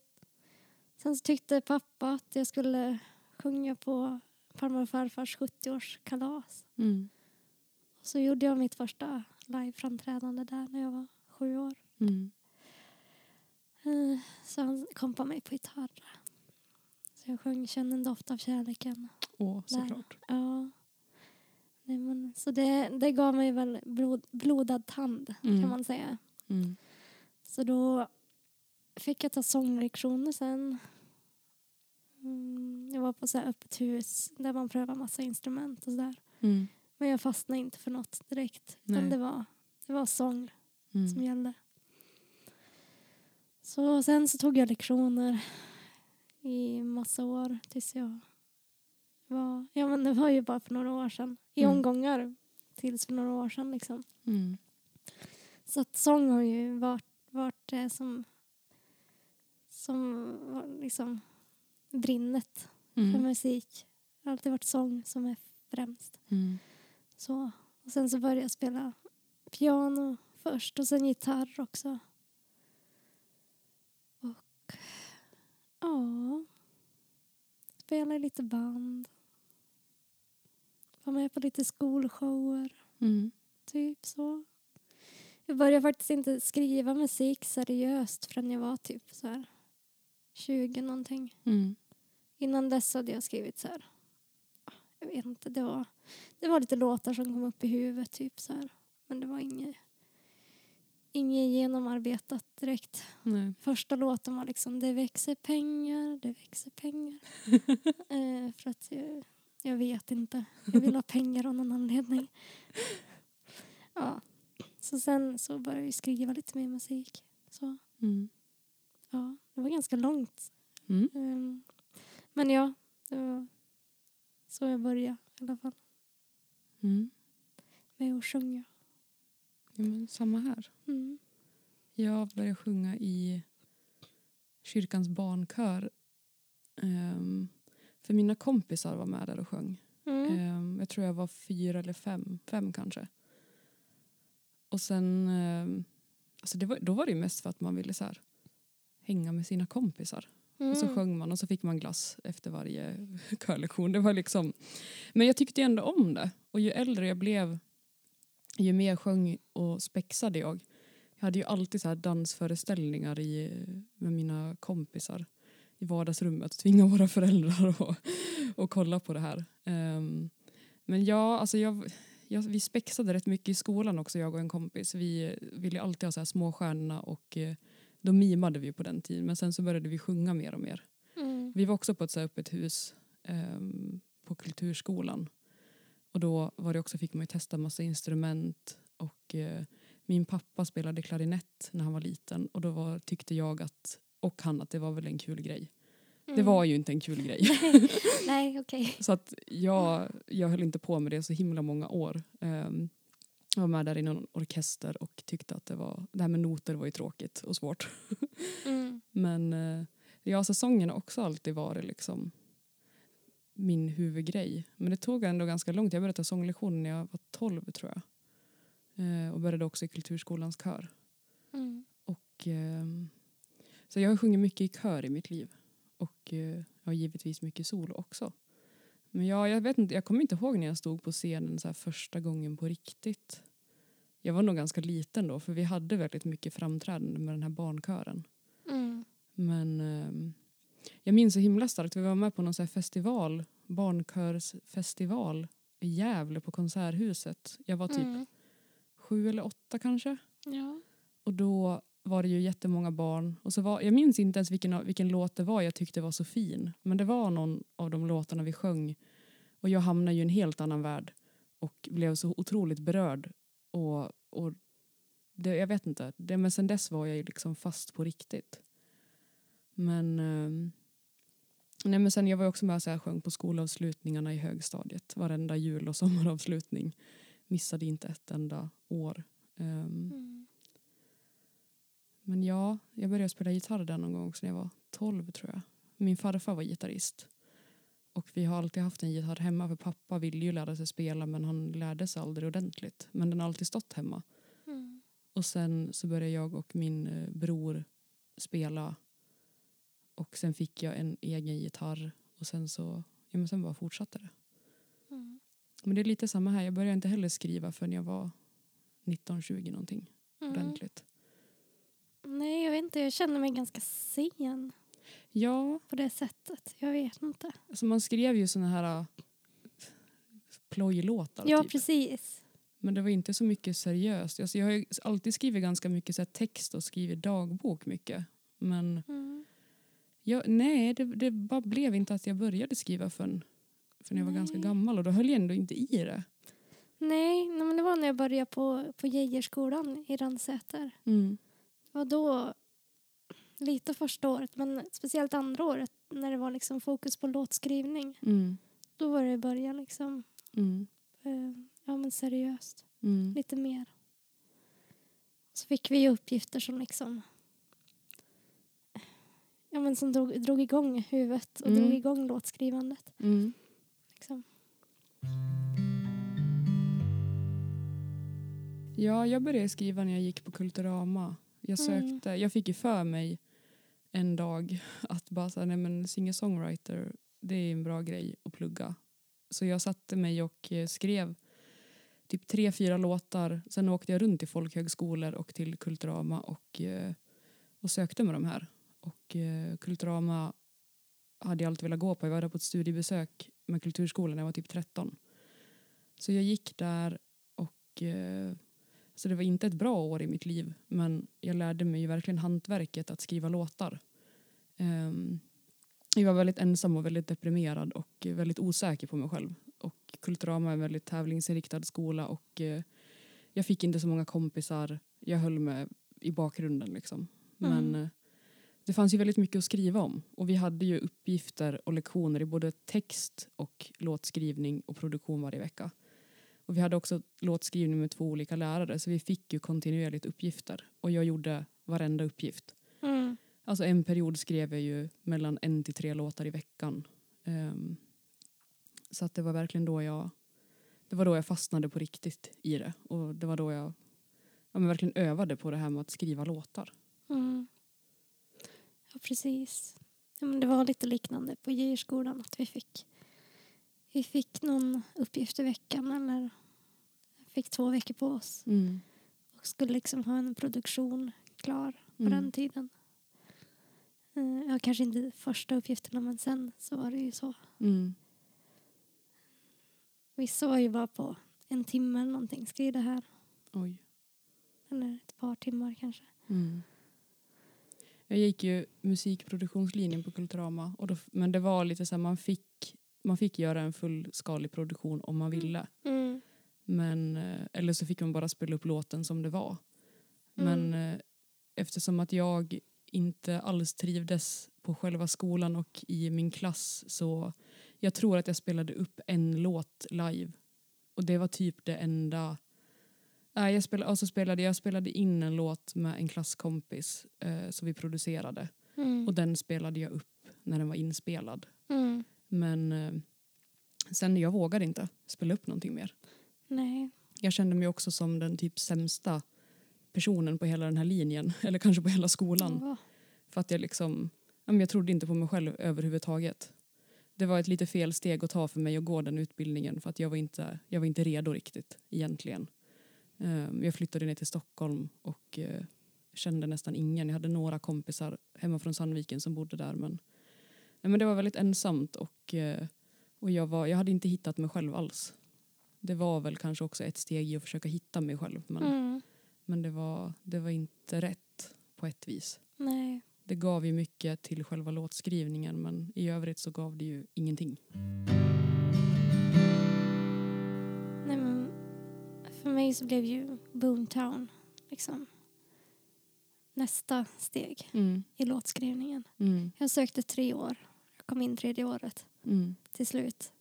S1: sen så tyckte pappa att jag skulle sjunga på farmor och farfars 70-årskalas.
S2: Mm.
S1: Och Så gjorde jag mitt första liveframträdande där när jag var sju år.
S2: Mm.
S1: Eh, Så han kompade mig på gitarr. Så jag sjöng Känn en doft av kärleken.
S2: Åh,
S1: Där.
S2: såklart.
S1: Ja. Nej, men, så det, det gav mig väl blod, blodad tand
S2: Mm.
S1: kan man säga.
S2: Mm.
S1: Så då fick jag ta sånglektioner sen. Mm, jag var på så här öppet hus där man prövar massa instrument och sådär.
S2: Mm.
S1: Men jag fastnade inte för något direkt.
S2: Nej.
S1: Utan det var, det var sång som
S2: Mm.
S1: gällde. Så sen så tog jag lektioner i massa år tills jag var, ja men det var ju bara för några år sedan. I
S2: Mm.
S1: omgångar tills för några år sedan liksom.
S2: Mm.
S1: Så att sång har ju varit, varit det som, som var liksom brinnet för
S2: Mm.
S1: musik. Det har alltid varit sång som är främst.
S2: Mm.
S1: Så. Och sen så började jag spela piano först och sen gitarr också. Och ja, spela i lite band. Var med på lite skolshower.
S2: Mm.
S1: Typ så. Jag började faktiskt inte skriva musik seriöst förrän jag var typ så här 20 någonting.
S2: Mm.
S1: Innan dess hade jag skrivit så här. ah, Jag vet inte, det var, det var lite låtar som kom upp i huvudet typ så här. Men det var inget, inget genomarbetat direkt.
S2: Nej.
S1: Första låten var liksom det växer pengar, det växer pengar. eh, för att jag, jag vet inte. Jag vill ha pengar av någon anledning. ja. Så sen så började jag skriva lite mer musik. Så,
S2: Mm.
S1: ja. Det var ganska långt.
S2: Mm.
S1: Ehm, men ja, det var så jag började i alla fall
S2: Mm.
S1: med att sjunga.
S2: Ja, men samma här.
S1: Mm.
S2: Jag började sjunga i kyrkans barnkör. Ehm, för mina kompisar var med där och sjöng.
S1: Mm.
S2: Ehm, jag tror jag var fyra eller fem, fem kanske. Och sen, ehm, alltså det var, då var det ju mest för att man ville så här, hänga med sina kompisar. Eh, Och
S1: Mm.
S2: så sjöng man och så fick man glass efter varje *laughs* körlektion. Det var liksom, men jag tyckte ändå om det. Och ju äldre jag blev, ju mer sjöng och spexade jag. Jag hade ju alltid så här dansföreställningar i, med mina kompisar i vardagsrummet. Tvinga *laughs* våra föräldrar att och kolla på det här. Ehm, men ja, alltså jag, jag, vi spexade rätt mycket i skolan också, jag och en kompis. Vi ville alltid ha så här småstjärnorna och eh, då mimade vi på den tiden. Men sen så började vi sjunga mer och mer.
S1: Mm.
S2: Vi var också på ett så här öppet hus ehm, på kulturskolan. Och då var det också, fick man ju testa massa instrument. Och eh, min pappa spelade klarinett när han var liten. Och då var, tyckte jag att, och han att det var väl en kul grej. Det var ju inte en kul grej.
S1: Nej, okej.
S2: *laughs* Så att jag, jag höll inte på med det så himla många år. Ehm, Jag var med där i någon orkester och tyckte att det, var, det här med noter var ju tråkigt och svårt.
S1: Mm.
S2: Men eh, ja, säsongen har också alltid varit liksom min huvudgrej. Men det tog ändå ganska långt. Jag började ta sånglektion när jag var 12 tror jag. Eh, Och började också i kulturskolans kör.
S1: Mm.
S2: Och, ehm, så jag har sjungit mycket i kör i mitt liv. Och eh, jag har givetvis mycket solo också. Men jag, jag, vet inte, jag kommer inte ihåg när jag stod på scenen så här första gången på riktigt. Jag var nog ganska liten då, för vi hade väldigt mycket framträdande med den här barnkören.
S1: Mm.
S2: Men ehm, jag minns så himla starkt, vi var med på någon så här festival, barnkörsfestival i Gävle på Konserthuset. Jag var typ
S1: Mm.
S2: sju eller åtta kanske.
S1: Ja.
S2: Och då var det ju jättemånga barn. Och så var, jag minns inte ens vilken, av- vilken låt det var jag tyckte var så fin. Men det var någon av de låtarna vi sjöng. Och jag hamnade ju i en helt annan värld. Och blev så otroligt berörd. Och, och det, jag vet inte. Det, men sen dess var jag ju liksom fast på riktigt. Men... ehm, nej men sen jag var ju också med och så här, sjöng på skolavslutningarna i högstadiet. Varenda jul och *laughs* sommaravslutning. Missade inte ett enda år. Ehm,
S1: Mm.
S2: men ja, jag började spela gitarr där någon gång också när jag var 12 tror jag. Min farfar var gitarrist. Och vi har alltid haft en gitarr hemma för pappa ville ju lära sig spela men han lärde sig aldrig ordentligt. Men den har alltid stått hemma.
S1: Mm.
S2: Och sen så började jag och min eh, bror spela. Och sen fick jag en egen gitarr. Och sen så, ja men sen bara fortsatte det.
S1: Mm.
S2: Men det är lite samma här, jag började inte heller skriva förrän jag var 19-20 någonting
S1: Mm.
S2: ordentligt.
S1: Nej, jag vet inte. Jag känner mig ganska sen
S2: Ja,
S1: på det sättet. Jag vet inte.
S2: alltså man skrev ju såna här äh, plojlåtar
S1: Ja,
S2: typ.
S1: precis.
S2: Men det var inte så mycket seriöst. Alltså jag har ju alltid skrivit ganska mycket så här text och skrivit dagbok mycket. Men
S1: Mm.
S2: jag, nej, det, det bara blev inte att jag började skriva förrän, förrän jag var ganska
S1: Nej.
S2: gammal och då höll jag ändå inte i det.
S1: Nej, nej, men det var när jag började på, på Geijerskolan i Ransäter.
S2: Mm,
S1: Det var då lite första året, men speciellt andra året när det var liksom fokus på låtskrivning.
S2: Mm.
S1: Då var det i början liksom,
S2: Mm.
S1: eh, ja men seriöst,
S2: Mm.
S1: lite mer. Så fick vi ju uppgifter som liksom, ja men som drog, drog igång huvudet och
S2: Mm.
S1: drog igång låtskrivandet.
S2: Mm.
S1: Liksom.
S2: Ja, jag började skriva när jag gick på Kulturama. Jag,
S1: Mm.
S2: sökte, jag fick ju för mig en dag att bara så här, nej men singer-songwriter, det är en bra grej att plugga. Så jag satte mig och eh, skrev typ tre, fyra låtar. Sen åkte jag runt till folkhögskolor och till Kulturama och, eh, och sökte med de här. Och eh, Kulturama hade jag alltid velat gå på. Jag var där på ett studiebesök med kulturskolan när jag var typ 13. Så jag gick där och eh, så det var inte ett bra år i mitt liv men jag lärde mig ju verkligen hantverket att skriva låtar. Ehm, jag var väldigt ensam och väldigt deprimerad och eh, väldigt osäker på mig själv. Och Kulturama är en väldigt tävlingsinriktad skola och eh, jag fick inte så många kompisar. Jag höll mig i bakgrunden liksom. Men
S1: Mm.
S2: eh, det fanns ju väldigt mycket att skriva om och vi hade ju uppgifter och lektioner i både text och låtskrivning och produktion varje vecka. Och vi hade också låtskrivning med två olika lärare så vi fick ju kontinuerligt uppgifter och jag gjorde varenda uppgift.
S1: Mm.
S2: Alltså en period skrev jag ju mellan en till tre låtar i veckan. Ehm, så att det var verkligen då jag, det var då jag fastnade på riktigt i det. Och det var då jag ja, men verkligen övade på det här med att skriva låtar.
S1: Mm. Ja, precis. Ja, men det var lite liknande på Geijerskolan att vi fick, vi fick någon uppgift i veckan eller fick två veckor på oss
S2: Mm.
S1: och skulle liksom ha en produktion klar på den tiden. Eh, Ja, kanske inte första uppgifterna men sen så var det ju så.
S2: Mm.
S1: Vissa var ju bara på en timme eller någonting, skriv det här.
S2: Oj.
S1: Eller ett par timmar kanske. Mm.
S2: Jag gick ju musikproduktionslinjen på Kulturama och då, men det var lite så här, man fick, man fick göra en fullskalig produktion om
S1: Mm.
S2: man ville. Men, eh, eller så fick man bara spela upp låten som det var. Men eh, eftersom att jag inte alls trivdes på själva skolan och i min klass så jag tror att jag spelade upp en låt live. Och det var typ det enda... Nej, jag, spelade, alltså spelade, jag spelade in en låt med en klasskompis eh, som vi producerade.
S1: Mm.
S2: Och den spelade jag upp när den var inspelad.
S1: Mm.
S2: Men eh, sen jag vågade inte spela upp någonting mer.
S1: Nej.
S2: Jag kände mig också som den typ sämsta personen på hela den här linjen, *laughs* eller kanske på hela skolan.
S1: Ja.
S2: För att jag liksom, ja, men jag trodde inte på mig själv överhuvudtaget. Det var ett lite fel steg att ta för mig att gå den utbildningen för att jag var inte, jag var inte redo riktigt egentligen. Ehm, Jag flyttade ner till Stockholm och eh, kände nästan ingen. Jag hade några kompisar hemma från Sandviken som bodde där men, nej, men det var väldigt ensamt och, eh, och jag, var, jag hade inte hittat mig själv alls. Det var väl kanske också ett steg i att försöka hitta mig själv men,
S1: Mm.
S2: men det, var, det var inte rätt på ett vis.
S1: Nej.
S2: Det gav ju mycket till själva låtskrivningen men i övrigt så gav det ju ingenting.
S1: Nej, men för mig så blev ju Boomtown liksom nästa steg
S2: Mm,
S1: i låtskrivningen.
S2: mm,
S1: Jag sökte tre år. Jag kom in tredje året
S2: mm,
S1: till slut.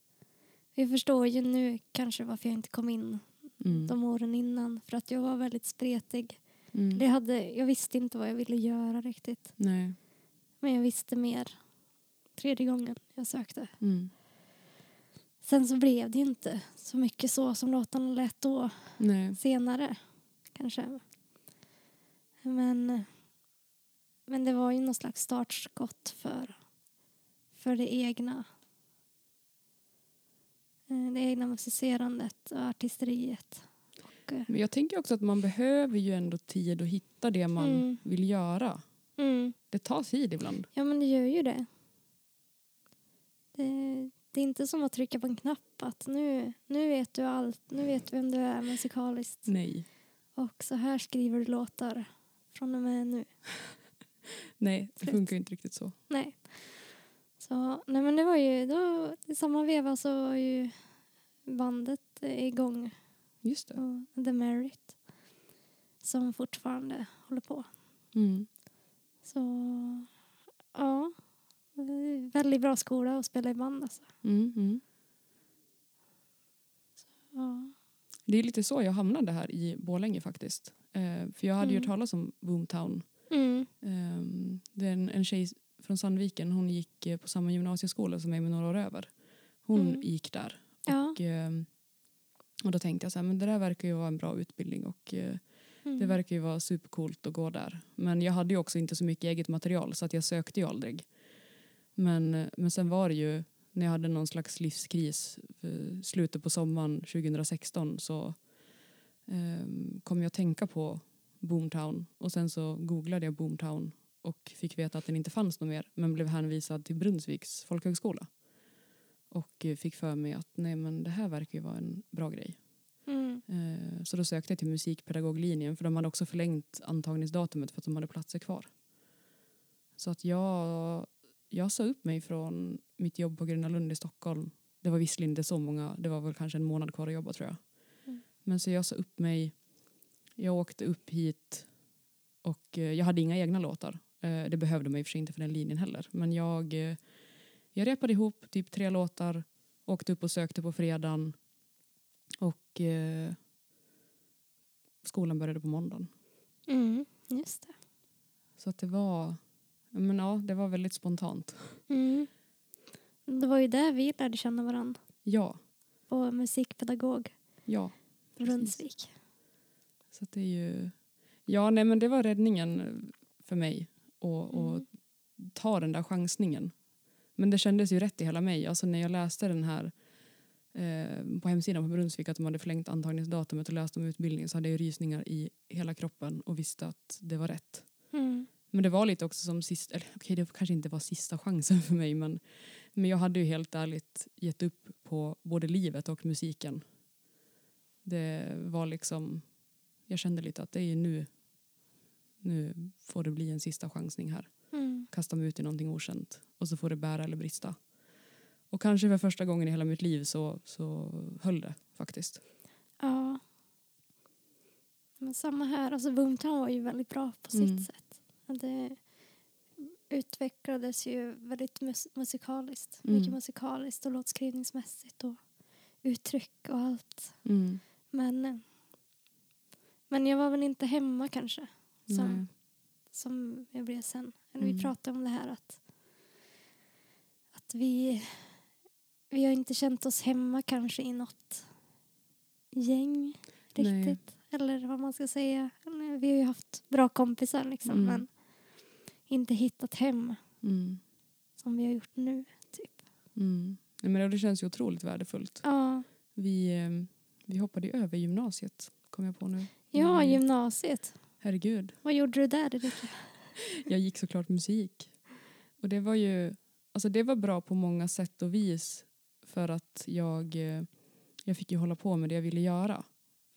S1: Vi förstår ju nu kanske varför jag inte kom in
S2: mm,
S1: de åren innan för att jag var väldigt spretig. Det
S2: mm.
S1: hade, jag visste inte vad jag ville göra riktigt
S2: Nej.
S1: men jag visste mer tredje gången jag sökte.
S2: Mm.
S1: Sen så blev det ju inte så mycket så som låtarna lät då
S2: Nej.
S1: senare kanske. Men, men det var ju någon slags startskott för, för det egna. eh, Det egna musicerandet och artisteriet. Och, eh,
S2: Men jag tänker också att man behöver ju ändå tid att hitta det man
S1: Mm.
S2: vill göra.
S1: mm.
S2: Det tar tid ibland.
S1: Ja, men det gör ju det. det. Det är inte som att trycka på en knapp att nu, nu vet du allt, nu vet vem du är musikaliskt.
S2: Nej.
S1: Och så här skriver du låtar från och med nu.
S2: Nej, det
S1: Slut.
S2: funkar ju inte riktigt så.
S1: Nej. Så, nej men det var ju, då, i samma veva så var ju bandet eh, igång,
S2: Just det.
S1: och The Merit, som fortfarande håller på.
S2: Mm.
S1: Så ja, eh, väldigt bra skola att spela i band alltså.
S2: Mm, mm.
S1: Ja.
S2: Det är lite så jag hamnade här i Borlänge faktiskt. Eh, för jag hade ju
S1: Mm.
S2: hört talas om Boomtown.
S1: Mm.
S2: Eh, det är en, en tjej från Sandviken, hon gick eh, på samma gymnasieskola som mig med några år över. Hon
S1: Mm.
S2: gick där.
S1: Ja.
S2: Och, eh, och då tänkte jag så här, men det där verkar ju vara en bra utbildning och eh,
S1: Mm.
S2: det verkar ju vara supercoolt att gå där. Men jag hade ju också inte så mycket eget material så att jag sökte ju aldrig. Men, eh, men sen var det ju när jag hade någon slags livskris eh, slutet på sommaren 2016 så eh, kom jag att tänka på Boomtown och sen så googlade jag Boomtown och fick veta att den inte fanns någon mer men blev hänvisad till Brunnsviks folkhögskola. Och eh, fick för mig att nej men det här verkar ju vara en bra grej.
S1: Mm.
S2: Eh, Så då sökte jag till musikpedagoglinjen för de hade också förlängt antagningsdatumet för att de hade platser kvar. Så att jag, jag sa upp mig från mitt jobb på Gröna Lund i Stockholm. Det var visserligen inte så många, det var väl kanske en månad kvar att jobba tror jag.
S1: Mm.
S2: Men så jag sa upp mig, jag åkte upp hit och eh, jag hade inga egna låtar. Eh, Det behövde man i och för sig inte för den linjen heller. Men jag, eh, jag repade ihop typ tre låtar, åkte upp och sökte på fredagen och eh, skolan började på måndagen.
S1: Mm. Just det.
S2: Så att det var, ja, men ja, det var väldigt spontant.
S1: Mm. Det var ju där vi lärde känna varandra.
S2: Ja,
S1: På musikpedagog
S2: ja. Precis.
S1: Brunnsvik.
S2: Så att det är ju, ja nej men det var räddningen för mig och, och
S1: Mm.
S2: ta den där chansningen. Men det kändes ju rätt i hela mig. Alltså när jag läste den här eh, på hemsidan på Brunnsvik att de hade förlängt antagningsdatumet och läste om utbildningen så hade jag ju rysningar i hela kroppen och visste att det var rätt.
S1: Mm.
S2: Men det var lite också som sista, eller okej det kanske inte var sista chansen för mig men, men jag hade ju helt ärligt gett upp på både livet och musiken. Det var liksom, jag kände lite att det är ju nu, nu får det bli en sista chansning här.
S1: Mm.
S2: Kasta mig ut i någonting okänt och så får det bära eller brista. Och kanske för första gången i hela mitt liv så, så höll det faktiskt.
S1: Ja. Men samma här. Alltså Boomtown var ju väldigt bra på sitt
S2: Mm.
S1: sätt. Och Det utvecklades ju väldigt mus- musikaliskt.
S2: Mm.
S1: Mycket musikaliskt och låtskrivningsmässigt och uttryck och allt.
S2: Mm.
S1: Men, eh, men jag var väl inte hemma kanske. Som
S2: Nej.
S1: som jag blev sen. Eller
S2: Mm.
S1: Vi pratade om det här att, att vi, vi har inte känt oss hemma kanske i något gäng riktigt.
S2: Nej.
S1: Eller vad man ska säga. Eller, Vi har ju haft bra kompisar liksom
S2: Mm.
S1: men inte hittat hem
S2: Mm.
S1: som vi har gjort nu. Typ.
S2: Mm. Nej, Men det känns ju otroligt värdefullt.
S1: Ja,
S2: Vi, eh, vi hoppade ju över gymnasiet, kom jag på nu.
S1: ja
S2: Mm.
S1: gymnasiet.
S2: Herregud.
S1: Vad gjorde du där Erika?
S2: Jag gick såklart musik. Och det var ju, alltså det var bra på många sätt och vis för att jag, eh, jag fick ju hålla på med det jag ville göra.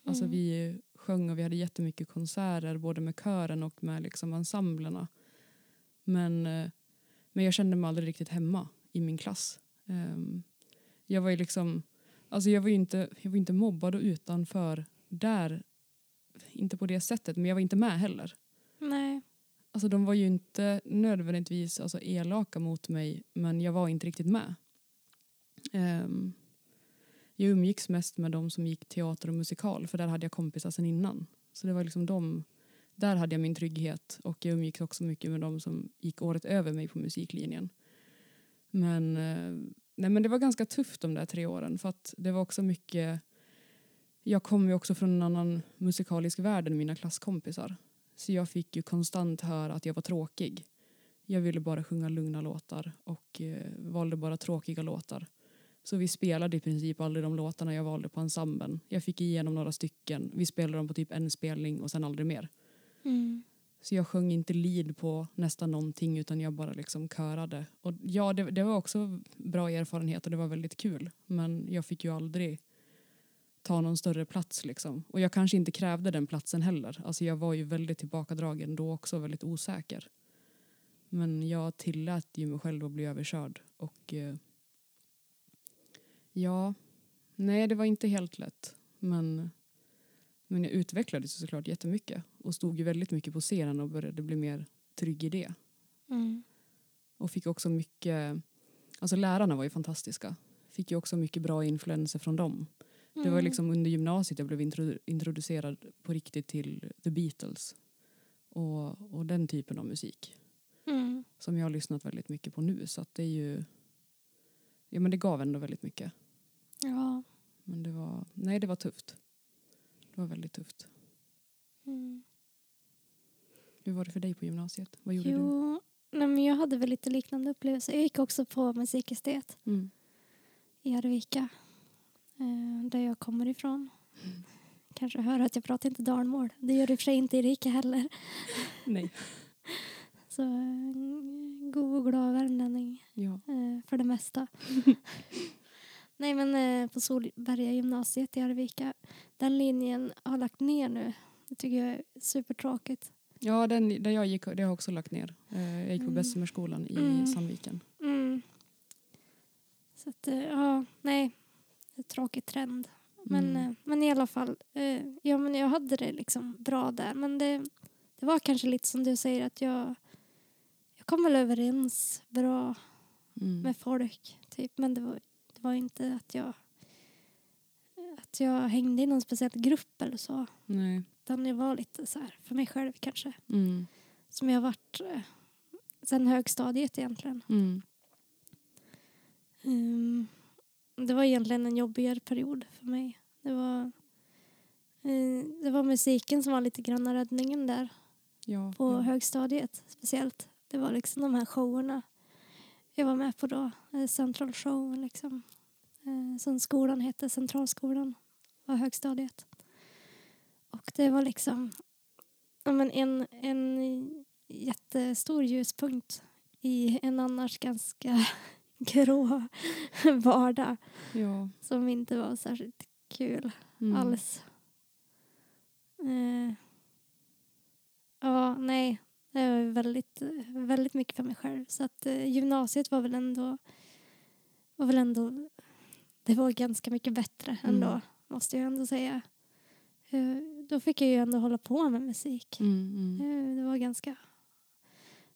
S2: Alltså
S1: Mm.
S2: vi sjöng och vi hade jättemycket konserter både med kören och med liksom ensemblerna. Men, eh, men jag kände mig aldrig riktigt hemma i min klass. Ehm, Jag var ju liksom, alltså jag var ju inte, jag var inte mobbad och utanför där, inte på det sättet, men jag var inte med heller.
S1: Nej.
S2: Alltså de var ju inte nödvändigtvis alltså, elaka mot mig men jag var inte riktigt med. Ehm, jag umgicks mest med de som gick teater och musikal för där hade jag kompisar sen innan. Så det var liksom de, där hade jag min trygghet och jag umgicks också mycket med de som gick året över mig på musiklinjen. Men, eh, nej, men det var ganska tufft de där tre åren för att det var också mycket jag kom ju också från en annan musikalisk värld än mina klasskompisar. Så jag fick ju konstant höra att jag var tråkig. Jag ville bara sjunga lugna låtar och eh, valde bara tråkiga låtar. Så vi spelade i princip aldrig de låtarna jag valde på ensemblen. Jag fick igenom några stycken. Vi spelade dem på typ en spelning och sen aldrig mer.
S1: Mm.
S2: Så jag sjöng inte lead på nästan någonting utan jag bara liksom körade. Och ja, det, det var också bra erfarenhet och det var väldigt kul. Men jag fick ju aldrig ta någon större plats liksom. Och jag kanske inte krävde den platsen heller. Alltså jag var ju väldigt tillbakadragen då också, väldigt osäker. Men jag tillät ju mig själv att bli överkörd och eh, ja, nej det var inte helt lätt. Men men jag utvecklades ju såklart jättemycket och stod ju väldigt mycket på scenen och började bli mer trygg i det.
S1: Mm.
S2: Och fick också mycket, alltså lärarna var ju fantastiska. Fick ju också mycket bra influenser från dem. Det
S1: Mm.
S2: var liksom under gymnasiet jag blev introdu- introducerad på riktigt till The Beatles. Och, och den typen av musik
S1: Mm.
S2: som jag har lyssnat väldigt mycket på nu. Så att det är ju, ja men det gav ändå väldigt mycket.
S1: Ja.
S2: Men det var, nej det var tufft. Det var väldigt tufft.
S1: Mm.
S2: Hur var det för dig på gymnasiet? Vad gjorde du?
S1: Jo, nej, men jag hade väl lite liknande upplevelser. Jag gick också på musikestet
S2: Mm.
S1: i Arvika, eh, där jag kommer ifrån.
S2: Mm.
S1: Kanske hör att jag pratar inte dalmål. Det gör det i och för sig inte Erika heller.
S2: Nej.
S1: Så eh, god och glad värmlänning
S2: Ja.
S1: eh, för det
S2: *laughs*
S1: mesta. Nej, men eh, på Solberga gymnasiet i Arvika. Den linjen har lagt ner nu. Det tycker jag är supertråkigt.
S2: Ja, den där jag gick, det har jag också lagt ner. Eh, Jag gick på
S1: Mm.
S2: Bästsummerskolan i
S1: Mm.
S2: Sandviken.
S1: Mm. Så att, eh, ja, nej. Det är en tråkig trend. Men,
S2: Mm.
S1: eh, men i alla fall, eh, ja men jag hade det liksom bra där. Men det, det var kanske lite som du säger att jag, jag kom väl överens bra
S2: Mm.
S1: med folk. Typ. Men det var, det var inte att jag, att jag hängde i någon speciell grupp eller så.
S2: Nej.
S1: Utan jag var lite så här för mig själv kanske.
S2: Mm.
S1: Som jag har varit eh, sen högstadiet egentligen.
S2: Mm.
S1: Ehm, det var egentligen en jobbigare period för mig. Det var, eh, det var musiken som var lite grann räddningen där
S2: Ja.
S1: på
S2: ja.
S1: högstadiet speciellt. Det var liksom de här showerna jag var med på då. eh, Central show liksom. Eh, Som skolan hette, Centralskolan var högstadiet. Och det var liksom ja, men en, en jättestor ljuspunkt i en annars ganska *laughs* grå *laughs* vardag
S2: ja.
S1: som inte var särskilt kul
S2: Mm.
S1: alls. Eh, ja, nej. Det var väldigt, väldigt mycket för mig själv. Så att eh, gymnasiet var väl ändå... Var väl ändå det var ganska mycket bättre ändå,
S2: Mm.
S1: måste jag ändå säga. Eh, då fick jag ju ändå hålla på med musik.
S2: Mm. Mm.
S1: Eh, det var ganska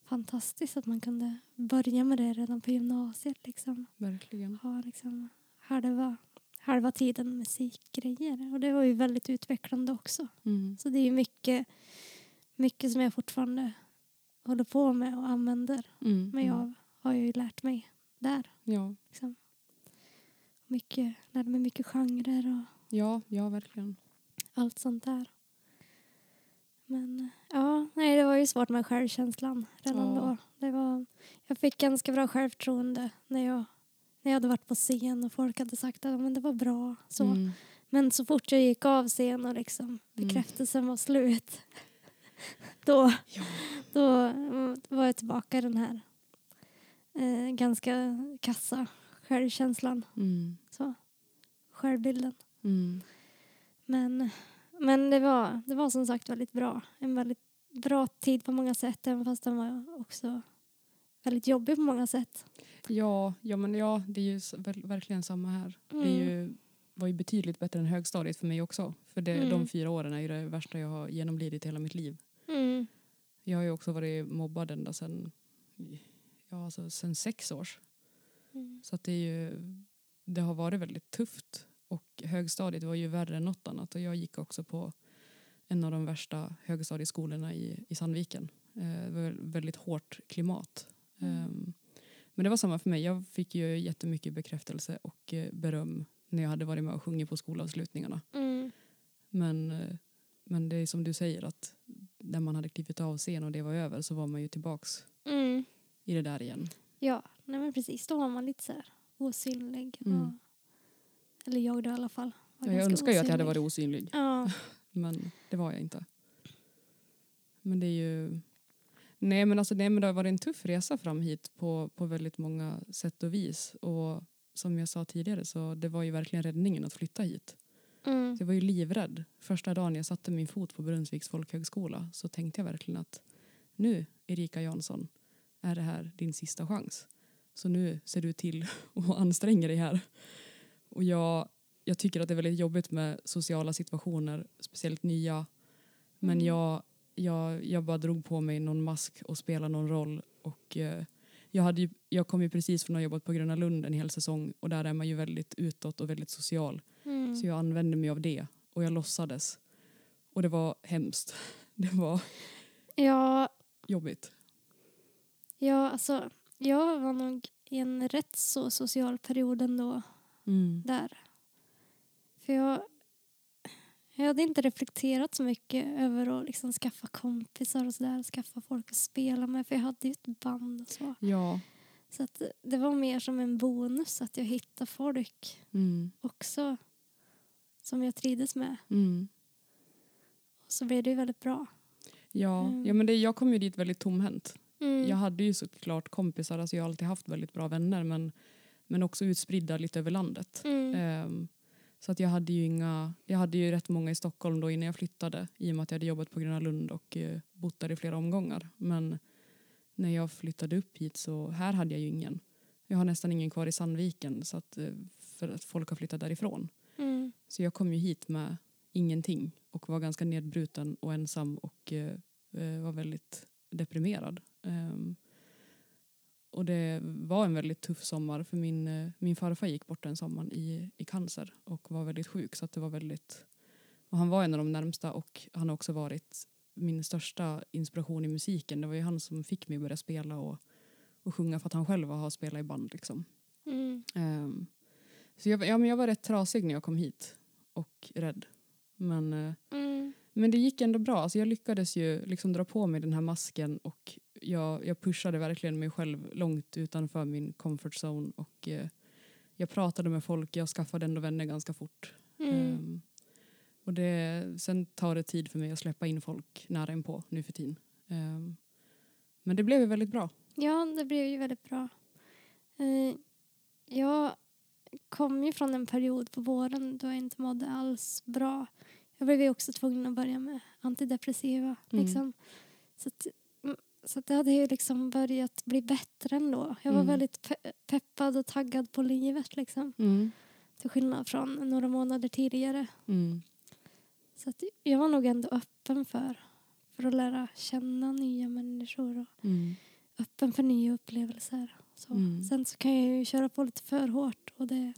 S1: fantastiskt att man kunde börja med det redan på gymnasiet. Liksom
S2: Verkligen.
S1: ha liksom halva, halva tiden musikgrejer. Och det var ju väldigt utvecklande också.
S2: Mm.
S1: Så det är ju mycket, mycket som jag fortfarande håller på med och använder
S2: Mm.
S1: mig
S2: mm.
S1: av. Har jag ju lärt mig där.
S2: Ja.
S1: Liksom. Mycket, lärde mig mycket genrer och
S2: Ja, ja, verkligen.
S1: allt sånt där. Men ja, nej, det var ju svårt med självkänslan redan
S2: Ja.
S1: då. Det var, jag fick ganska bra självförtroende när jag, när jag hade varit på scen och folk hade sagt att "Ja, men det var bra. Så.
S2: Mm.
S1: Men så fort jag gick av scen och liksom
S2: Mm.
S1: bekräftelsen var slut *laughs* då,
S2: Ja.
S1: då mm, var jag tillbaka i den här eh, ganska kassa självkänslan.
S2: Mm.
S1: Så. Självbilden.
S2: Mm.
S1: Men, men det, var, det var som sagt väldigt bra. En väldigt bra tid på många sätt, även fast den var också väldigt jobbig på många sätt.
S2: Ja, ja, men ja, det är ju s- ver- verkligen samma här. Det
S1: Mm.
S2: är ju, var ju betydligt bättre än högstadiet för mig också. För det,
S1: Mm.
S2: de fyra åren är ju det värsta jag har genomlidit i hela mitt liv.
S1: Mm.
S2: Jag har ju också varit mobbad ända sen, ja, alltså, sen sex års.
S1: Mm.
S2: Så att det, är ju, det har varit väldigt tufft. Och högstadiet var ju värre än något annat. Och jag gick också på en av de värsta högstadieskolorna i, i Sandviken. Eh, det var ett väldigt hårt klimat.
S1: Mm.
S2: Ehm, men det var samma för mig. Jag fick ju jättemycket bekräftelse och eh, beröm när jag hade varit med och sjungit på skolavslutningarna.
S1: Mm.
S2: Men, eh, men det är som du säger att där man hade klivit av scen och det var över så var man ju tillbaks
S1: Mm.
S2: i det där igen.
S1: Ja, nej men precis. Då var man lite så här osynlig.
S2: Mm.
S1: Och, eller jag då i alla fall. var
S2: Ja, jag
S1: ganska
S2: önskar ju att jag hade
S1: osynlig.
S2: varit osynlig.
S1: Ja,
S2: Men det var jag inte. Men det är ju... Nej men, alltså, nej, men det har varit en tuff resa fram hit på, på väldigt många sätt och vis. Och som jag sa tidigare så det var ju verkligen räddningen att flytta hit.
S1: mm.
S2: Så jag var ju livrädd. Första dagen jag satte min fot på Brunnsviks folkhögskola så tänkte jag verkligen att nu Erika Jansson är det här din sista chans. Så nu ser du till *laughs* och anstränger dig här. Och jag, jag tycker att det är väldigt jobbigt med sociala situationer, speciellt nya. Men
S1: Mm.
S2: jag, jag, jag bara drog på mig någon mask och spelade någon roll. Och, eh, jag, hade ju, jag kom ju precis från att ha jobbat på Gröna Lund en hel säsong och där är man ju väldigt utåt och väldigt social.
S1: Mm.
S2: Så jag använde mig av det och jag låtsades. Och det var hemskt. *laughs* Det var
S1: Ja,
S2: jobbigt.
S1: ja, alltså jag var nog i en rätt så social period ändå
S2: Mm.
S1: där. För jag, jag hade inte reflekterat så mycket över att liksom skaffa kompisar och sådär, skaffa folk att spela med för jag hade ju ett band och så.
S2: Ja.
S1: Så att det var mer som en bonus att jag hittade folk
S2: Mm.
S1: också som jag trivdes med.
S2: Mm.
S1: Och så blev det ju väldigt bra.
S2: Ja.
S1: Mm.
S2: ja, men det, jag kom ju dit väldigt tomhänt.
S1: Mm.
S2: Jag hade ju såklart kompisar, alltså jag har alltid haft väldigt bra vänner men, men också utspridda lite över landet.
S1: Mm.
S2: Ehm, så att jag hade ju inga, jag hade ju rätt många i Stockholm då innan jag flyttade i och med att jag hade jobbat på Gröna Lund och eh, bott där i flera omgångar. Men när jag flyttade upp hit så här hade jag ju ingen. Jag har nästan ingen kvar i Sandviken så att, eh, för att folk har flyttat därifrån.
S1: Mm.
S2: Så jag kom ju hit med ingenting och var ganska nedbruten och ensam och eh, eh, var väldigt deprimerad. Ehm, och det var en väldigt tuff sommar för min, eh, min farfar gick bort den sommaren i, i cancer och var väldigt sjuk så att det var väldigt och han var en av de närmsta och han har också varit min största inspiration i musiken. Det var ju han som fick mig att börja spela och, och sjunga för att han själv har spelat i band liksom.
S1: Mm.
S2: Ehm, så jag, ja, men jag var rätt trasig när jag kom hit och rädd. Men, eh,
S1: Mm.
S2: men det gick ändå bra. Alltså jag lyckades ju liksom dra på mig den här masken och jag, jag pushade verkligen mig själv långt utanför min comfort zone. Och, eh, jag pratade med folk, jag skaffade ändå vänner ganska fort.
S1: Mm.
S2: Ehm, och det, sen tar det tid för mig att släppa in folk nära en på nu för tiden. Ehm, men det blev ju väldigt bra.
S1: Ja, det blev ju väldigt bra. Eh, jag kom ju från en period på våren då jag inte mådde alls bra. Jag blev ju också tvungen att börja med antidepressiva.
S2: Mm.
S1: Liksom. Så, att, mm, så att det hade ju liksom börjat bli bättre ändå. Jag var
S2: Mm.
S1: väldigt pe- peppad och taggad på livet liksom.
S2: Mm.
S1: Till skillnad från några månader tidigare.
S2: Mm.
S1: Så att jag var nog ändå öppen för, för att lära känna nya människor. Och
S2: Mm.
S1: öppen för nya upplevelser. Så.
S2: Mm.
S1: Sen så kan jag ju köra på lite för hårt och
S2: *laughs*
S1: det,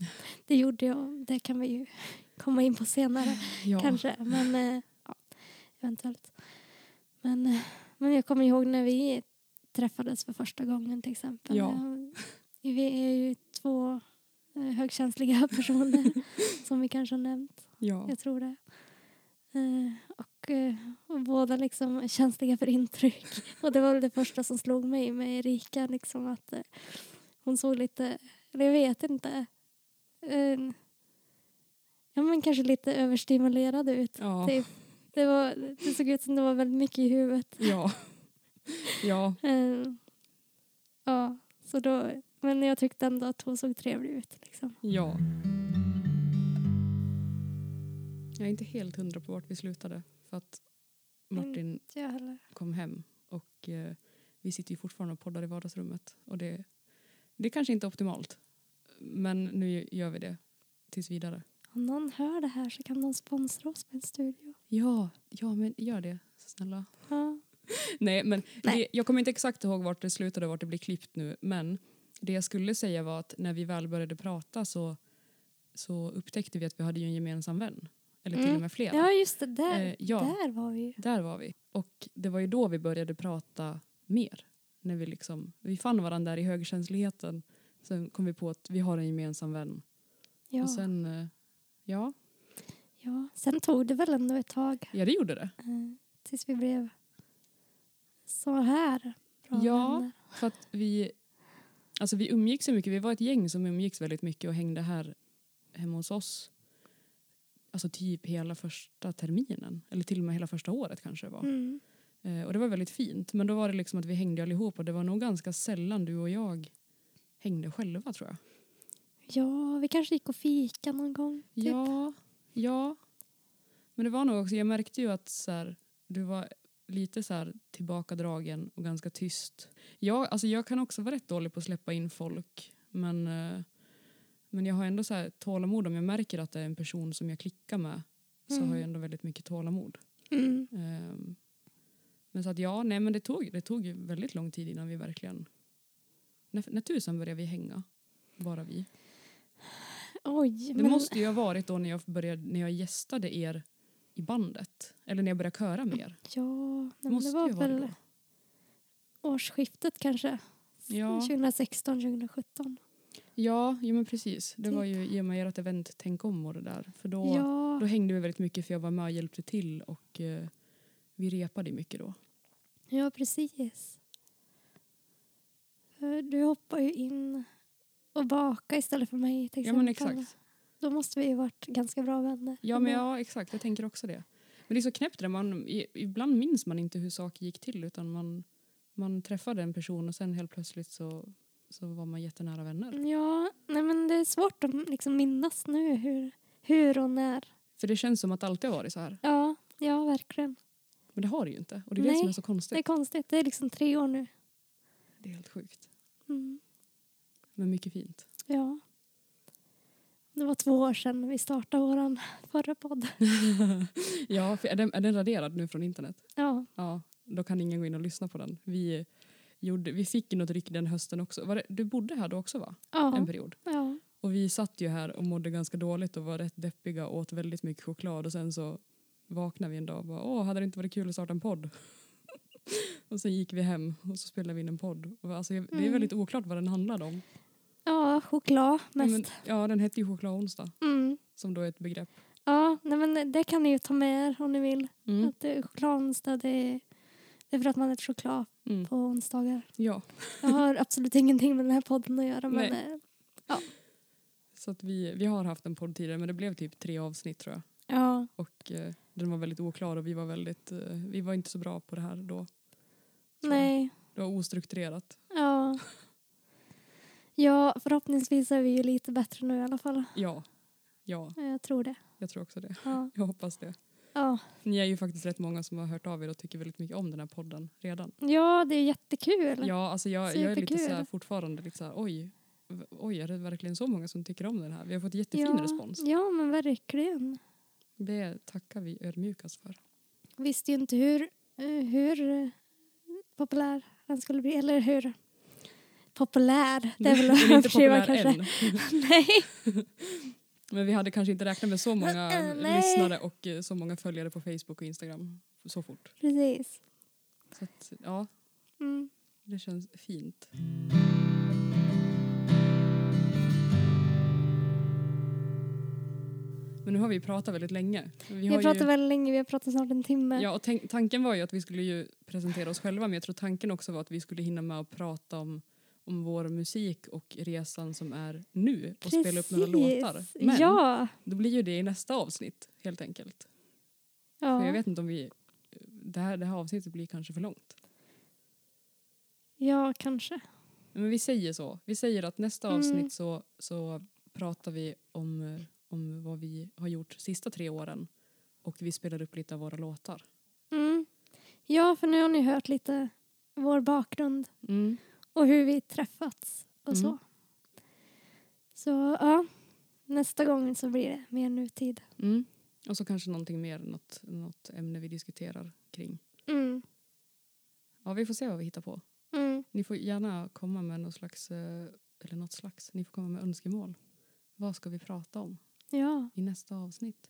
S1: det gjorde jag. Det kan vi ju *laughs* komma in på senare
S2: Ja.
S1: kanske. Men eh, ja, eventuellt. Men, eh, men jag kommer ihåg när vi träffades för första gången till exempel.
S2: Ja.
S1: Jag- Vi är ju två eh, högkänsliga *laughs*
S2: *laughs*
S1: personer som vi kanske har nämnt.
S2: Ja.
S1: Jag tror det. Eh, och, eh, och båda liksom är känsliga för intryck. *laughs* Och det var väl det första som slog mig med Erika. Liksom att eh, hon såg lite, eller jag vet inte. Eh, ja men kanske lite överstimulerad ut.
S2: Ja.
S1: Typ. Det, var, det såg ut som det var väldigt mycket i huvudet.
S2: Ja. Ja.
S1: Eh, ja, så då, men jag tyckte ändå att hon såg trevlig ut. Liksom.
S2: Ja. Jag är inte helt hundra på vart vi slutade. För att Martin
S1: Jag heller.
S2: kom hem och eh, vi sitter ju fortfarande och poddar i vardagsrummet. Och det, det kanske inte är optimalt. Men nu gör vi det tills vidare.
S1: Om någon hör det här så kan de sponsra oss med en studio.
S2: Ja, ja men gör det. Snälla.
S1: Ja.
S2: Nej, men
S1: Nej.
S2: Det, jag kommer inte exakt ihåg vart det slutade och vart det blir klippt nu. Men det jag skulle säga var att när vi väl började prata så, så upptäckte vi att vi hade ju en gemensam vän. Eller till
S1: Mm.
S2: och med flera.
S1: Ja, just det. Där,
S2: Eh, ja.
S1: där var vi ju.
S2: Där var vi. Och det var ju då vi började prata mer. När vi, liksom, vi fann varandra där i högkänsligheten. Sen kom vi på att vi har en gemensam vän.
S1: Ja.
S2: Och
S1: Sen,
S2: sen, eh, ja,
S1: ja. sen tog det väl ändå ett tag
S2: ja, det gjorde det.
S1: eh, tills vi blev Så här. Bra
S2: Ja.
S1: vänner.
S2: För att vi, alltså vi umgicks så mycket. Vi var ett gäng som umgicks väldigt mycket och hängde här hemma hos oss. Alltså typ hela första terminen. Eller till och med hela första året kanske det var.
S1: Mm.
S2: Eh, och det var väldigt fint. Men då var det liksom att vi hängde allihop och det var nog ganska sällan du och jag hängde själva tror jag.
S1: Ja, vi kanske gick och fika någon gång. Typ.
S2: Ja, ja. Men det var nog också, jag märkte ju att så här, du var lite så här tillbakadragen och ganska tyst. Jag, alltså jag kan också vara rätt dålig på att släppa in folk men, eh, men jag har ändå så här tålamod om jag märker att det är en person som jag klickar med så
S1: Mm.
S2: har jag ändå väldigt mycket tålamod.
S1: Mm.
S2: Ehm, men så att ja, nej men det tog, det tog ju väldigt lång tid innan vi verkligen... När, när tusan började vi hänga? Bara vi.
S1: Oj,
S2: Det
S1: men
S2: måste ju ha varit då när jag, började, när jag gästade er i bandet. Eller när jag började köra med er.
S1: ja, nej,
S2: Det
S1: men
S2: måste
S1: det var
S2: ju vara
S1: väl
S2: det då.
S1: årsskiftet kanske.
S2: Ja,
S1: 2016, 2017.
S2: ja jo, men precis. Det
S1: Typ.
S2: var ju i och med ert event Tänk om och det där. För då,
S1: Ja,
S2: då hängde vi väldigt mycket för jag var med och hjälpte till och eh, vi repade mycket då.
S1: ja, precis. För Du hoppar ju in och bakar istället för mig till
S2: Ja
S1: exempel.
S2: men exakt.
S1: Då måste vi ju varit ganska bra vänner.
S2: Ja men ja, exakt. Jag tänker också det. Men det är så knäppt det. Man, i- ibland minns man inte hur saker gick till utan man, man träffade en person och sen helt plötsligt så, så var man jättenära vänner.
S1: Mm. Ja, nej men det är svårt att liksom minnas nu hur, hur och när.
S2: För det känns som att det alltid har varit så här.
S1: Ja, ja verkligen.
S2: Men det har det ju inte. Och det är det
S1: Nej,
S2: som är så konstigt.
S1: Det är konstigt, det är liksom tre år nu.
S2: Det är helt sjukt.
S1: Mm.
S2: Men mycket fint.
S1: Ja. Det var två år sedan vi startade vår förra podd.
S2: Ja, för är, den, är den raderad nu från internet?
S1: Ja,
S2: Ja, då kan ingen gå in och lyssna på den. Vi, gjorde, vi fick ju något ryck den hösten också. Var det, du bodde här då också va? En
S1: ja,
S2: period.
S1: ja.
S2: Och vi satt ju här och mådde ganska dåligt och var rätt deppiga och åt väldigt mycket choklad och sen så vaknade vi en dag och bara åh, hade det inte varit kul att starta en podd? *laughs* och sen gick vi hem och så spelade vi in en podd. Och Alltså, jag- Det är
S1: Mm.
S2: väldigt oklart vad den handlade om.
S1: ja choklad
S2: Ja,
S1: mest.
S2: Men, ja, den hette ju choklad onsdag
S1: Mm.
S2: som då är ett begrepp.
S1: Ja, nej men det kan ni ju ta med er om ni vill.
S2: Mm.
S1: Att eh, chokladonsdag, det är, det är för att man äter choklad
S2: Mm.
S1: på onsdagar.
S2: Ja.
S1: Jag
S2: *laughs*
S1: har absolut ingenting med den här podden att göra. Men, eh,
S2: Så att vi, vi har haft en podd tidigare men det blev typ tre avsnitt tror jag.
S1: ja,
S2: Och eh, den var väldigt oklar och vi var, väldigt, eh, vi var inte så bra på det här då. Så
S1: nej.
S2: Det var ostrukturerat.
S1: Ja. ja, förhoppningsvis är vi ju lite bättre nu i alla fall.
S2: Ja, ja,
S1: Jag tror det.
S2: jag tror också det.
S1: Ja,
S2: Jag hoppas det.
S1: ja.
S2: Ni är ju faktiskt rätt många som har hört av er och tycker väldigt mycket om den här podden redan.
S1: ja det är jättekul.
S2: Ja, alltså jag, jag är lite
S1: Superkul.
S2: så här, fortfarande lite så här, oj, v- oj, är det verkligen så många som tycker om den här? Vi har fått jättefin
S1: ja.
S2: respons.
S1: Ja, men verkligen.
S2: Det tackar vi ödmjukast för.
S1: Visste ju inte hur, eh, hur eh, populär den skulle bli. Eller hur
S2: *laughs*
S1: populär. Det är väl
S2: Den
S1: *laughs*
S2: är inte
S1: överdriva
S2: populär
S1: kanske.
S2: än.
S1: Nej.
S2: Men vi hade kanske inte räknat med så många
S1: Eh, eh, nej.
S2: lyssnare och eh, så många följare på Facebook och Instagram så fort.
S1: Precis.
S2: Så att, ja,
S1: Mm.
S2: det känns fint. Men nu har vi pratat väldigt länge.
S1: Vi
S2: Vi
S1: har
S2: har
S1: pratat
S2: ju,
S1: väldigt länge, vi har pratat snart en timme.
S2: ja, och tänk, tanken var ju att vi skulle ju presentera oss själva men jag tror tanken också var att vi skulle hinna med att prata om, om vår musik och resan som är nu och spela upp några
S1: Precis.
S2: låtar. Men
S1: Ja.
S2: då blir ju det i nästa avsnitt helt enkelt. För jag
S1: Ja.
S2: vet inte om vi... Det här, det här avsnittet blir kanske för långt.
S1: ja, kanske.
S2: Men vi säger så. Vi säger att nästa
S1: Mm.
S2: avsnitt så, så pratar vi om, eh, om vad vi har gjort sista tre åren. Och vi spelar upp lite av våra låtar.
S1: Mm. Ja, för nu har ni hört lite vår bakgrund
S2: Mm.
S1: och hur vi träffats och så.
S2: Mm.
S1: Så ja, nästa gång så blir det mer nutid.
S2: Mm. Och så kanske någonting mer, något, något ämne vi diskuterar kring.
S1: Mm.
S2: Ja, vi får se vad vi hittar på.
S1: Mm.
S2: Ni får gärna komma med något slags, eh, eller något slags, ni får komma med önskemål. Vad ska vi prata om?
S1: Ja,
S2: i nästa avsnitt.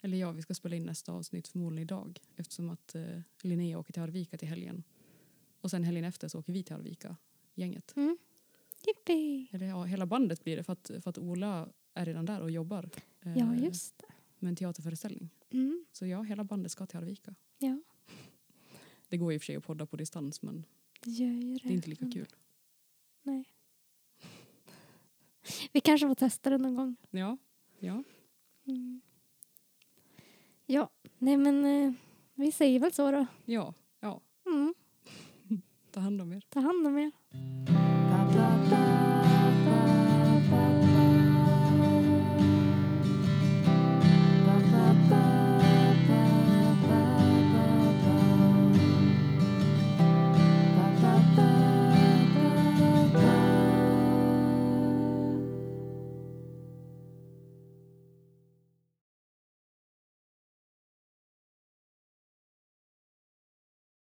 S2: Eller ja, vi ska spela in nästa avsnitt förmodligen idag eftersom att eh, Linnea åker till Arvika till helgen. Och sen helgen efter så åker vi till Arvika, gänget.
S1: jippi.
S2: Eller ja, hela bandet blir det för att, för att Ola är redan där och jobbar eh,
S1: Ja, just
S2: med en teaterföreställning.
S1: det. Mm.
S2: Så ja, hela bandet ska till Arvika.
S1: Ja.
S2: Det går i och för sig att podda på distans men
S1: Det gör ju
S2: det är inte lika kul.
S1: Nej. *laughs* Vi kanske får testa det någon gång.
S2: Ja, ja.
S1: Mm. Ja, nej men eh, vi säger väl så då.
S2: Ja, ja.
S1: Mm.
S2: Ta hand om er.
S1: Ta hand om er.